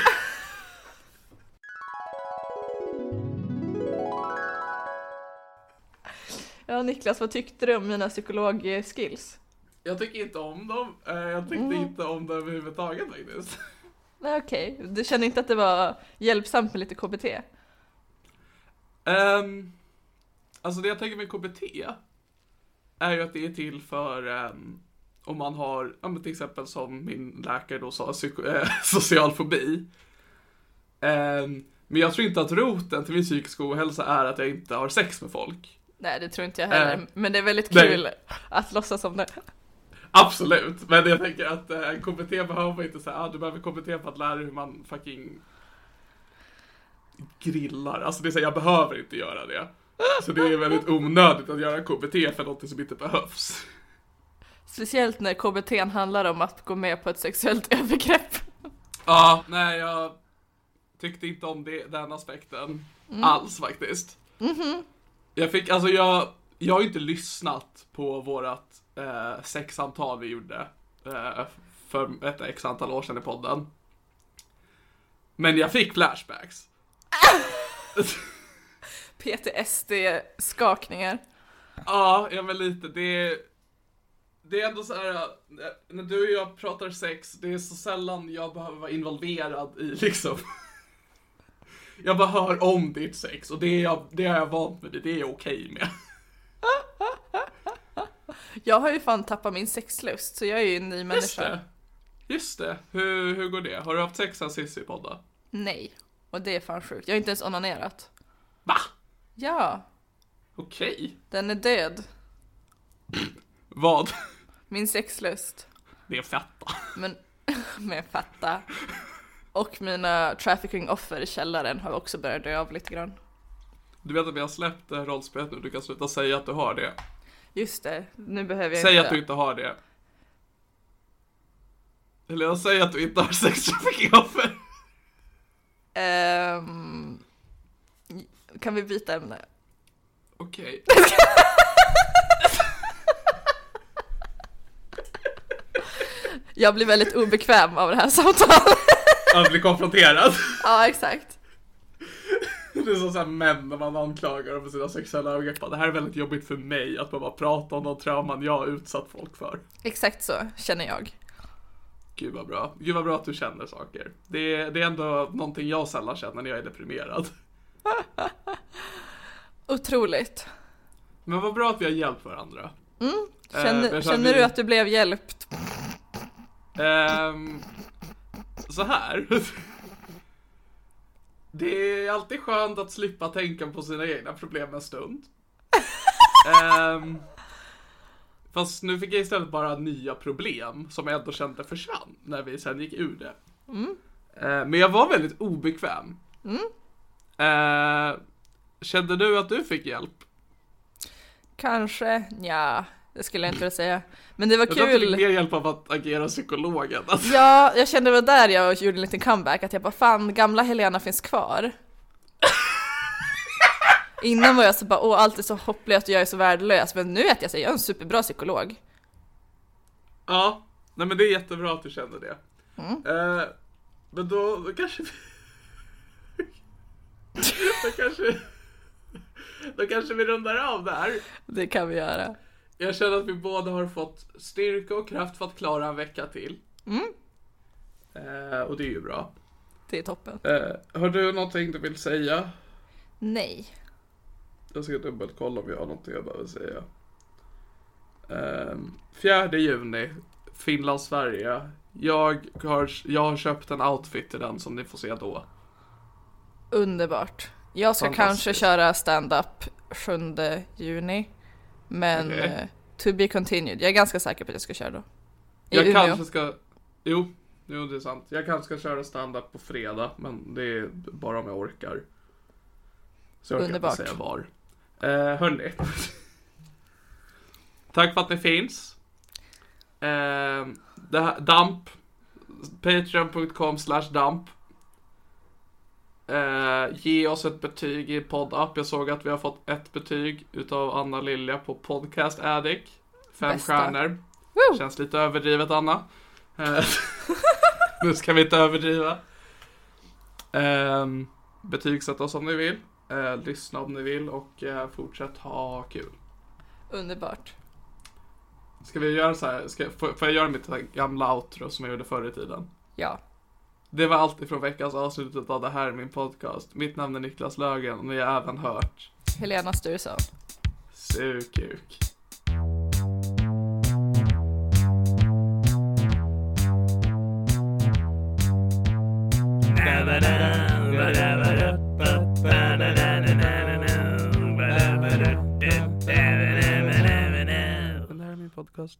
Speaker 1: Ja Niklas, vad tyckte du om mina psykologskills?
Speaker 2: Jag tycker inte om dem, Eh, jag tyckte
Speaker 1: Mm.
Speaker 2: inte om dem överhuvudtaget faktiskt.
Speaker 1: Nej okej, du kände inte att det var hjälpsamt med lite KBT?
Speaker 2: Um, alltså det jag tänker med KBT är ju att det är till för ehm, om man har, ja, men till exempel som min läkare då sa, psyko- eh, social fobi. Ehm, men jag tror inte att roten till min psykiska ohälsa är att jag inte har sex med folk.
Speaker 1: Nej det tror inte jag heller,
Speaker 2: Äh.
Speaker 1: men det är väldigt
Speaker 2: Nej.
Speaker 1: kul att låtsas som det.
Speaker 2: Absolut, men jag tänker att eh, KBT behöver inte säga, ah, du behöver KBT för att lära dig hur man fucking grillar. Alltså det är så här, jag behöver inte göra det. Så det är väldigt onödigt att göra KBT för något som inte behövs.
Speaker 1: Speciellt när KBT handlar om att gå med på ett sexuellt övergrepp.
Speaker 2: Ja, nej jag tyckte inte om det, den aspekten alls faktiskt. Jag fick, alltså jag, jag har ju inte lyssnat på vårat eh, sexsamtal vi gjorde eh, för ett x antal år sedan i podden. Men jag fick flashbacks.
Speaker 1: PTSD-skakningar.
Speaker 2: Ja, ja men lite. Det är, det är ändå så här, eh, när du och jag pratar sex, det är så sällan jag behöver vara involverad i liksom. Jag bara hör om ditt sex och det, är jag, det har jag vant mig vid, det är jag okej med.
Speaker 1: Jag har ju fan tappat min sexlust så jag är ju en ny
Speaker 2: Just
Speaker 1: människa.
Speaker 2: det. Just det. Hur, hur går det? Har du haft sex sen sist vi poddade?
Speaker 1: Nej. Och det är fan sjukt. Jag har inte ens onanerat.
Speaker 2: Va?
Speaker 1: Ja,
Speaker 2: Okej.
Speaker 1: den är död.
Speaker 2: Vad?
Speaker 1: Min sexlust.
Speaker 2: Det är fetta.
Speaker 1: Men, men fatta. Och mina trafficking-offer i källaren har också börjat dö av lite grann.
Speaker 2: Du vet att vi har släppt eh, rollspelet nu, du kan sluta säga att du har det.
Speaker 1: Just det, nu behöver jag
Speaker 2: Säg att du inte har det. Eller jag säger att du inte har sex trafficking-offer.
Speaker 1: Ehm, kan vi byta ämne?
Speaker 2: Okej.
Speaker 1: Jag blir väldigt obekväm av det här samtalet.
Speaker 2: Att bli konfronterad.
Speaker 1: ja, exakt.
Speaker 2: Det är som såhär män när man anklagar dem för sina sexuella övergrepp. Det här är väldigt jobbigt för mig att behöva prata om de trauman jag har utsatt folk för.
Speaker 1: Exakt så känner jag.
Speaker 2: Gud vad bra. Gud vad bra att du känner saker. Det är, det är ändå någonting jag sällan känner när jag är deprimerad.
Speaker 1: Otroligt.
Speaker 2: Men vad bra att vi har hjälpt varandra. Eh,
Speaker 1: Mm. Känner,
Speaker 2: men så
Speaker 1: känner
Speaker 2: vi-
Speaker 1: du att du blev hjälpt?
Speaker 2: Ehm, så här. Det är alltid skönt att slippa tänka på sina egna problem en stund. Ehm, fast nu fick jag istället bara nya problem som jag ändå kände försvann när vi sen gick ur det. Ehm, men jag var väldigt obekväm. Ehm, kände du att du fick hjälp?
Speaker 1: Kanske? Ja, det skulle jag inte säga. Men det var
Speaker 2: Jag tror att du
Speaker 1: kul.
Speaker 2: fick mer hjälp av att agera Alltså. psykolog än att...
Speaker 1: Ja, jag kände väl där jag gjorde en liten comeback, att jag bara fan, gamla Helena finns kvar. Innan var jag så bara, åh allt är så hopplöst och jag är så värdelös, men nu vet jag att jag är en superbra psykolog.
Speaker 2: Ja, nej men det är jättebra att du känner det. Eh, men då, då kanske vi... då kanske... Då kanske vi rundar av där.
Speaker 1: Det kan vi göra.
Speaker 2: Jag känner att vi båda har fått styrka och kraft för att klara en vecka till. Eh, och det är ju bra.
Speaker 1: Det är toppen.
Speaker 2: Eh, har du någonting du vill säga?
Speaker 1: Nej.
Speaker 2: Jag ska dubbelkolla om jag har någonting jag behöver säga. Ehm, 4 juni, Finland-Sverige. Jag har, jag har köpt en outfit till den som ni får se då.
Speaker 1: Underbart. Jag ska
Speaker 2: Fantastiskt.
Speaker 1: kanske köra stand-up 7 juni. Men
Speaker 2: Okej.
Speaker 1: eh, to be continued. Jag är ganska säker på att jag ska köra då. I
Speaker 2: Jag
Speaker 1: Umeå.
Speaker 2: kanske ska... Jo, jo, det är sant. Jag kanske ska köra stand-up på fredag, men det är bara om jag orkar. Så jag
Speaker 1: Underbart.
Speaker 2: kan inte säga var. Eh, hörni. Tack för att ni finns. Eh, det här, damp. Patreon.com slash damp. Eh, ge oss ett betyg i poddapp. Jag såg att vi har fått ett betyg utav Anna Lilja på Podcast Addict. Fem
Speaker 1: Bästa.
Speaker 2: stjärnor.
Speaker 1: Woo!
Speaker 2: Känns lite överdrivet Anna. Eh, nu ska vi inte överdriva. Ehm, betygsätt oss om ni vill. Eh, lyssna om ni vill och eh, fortsätt ha kul.
Speaker 1: Underbart.
Speaker 2: Ska vi göra så här? Ska, får, får jag göra mitt gamla outro som jag gjorde förr i tiden?
Speaker 1: Ja.
Speaker 2: Det var allt ifrån veckans avsnitt av det här är min podcast. Mitt namn är Niklas Lögen och ni har även hört
Speaker 1: Helena Sturesson.
Speaker 2: Sukuk. Det här är min podcast.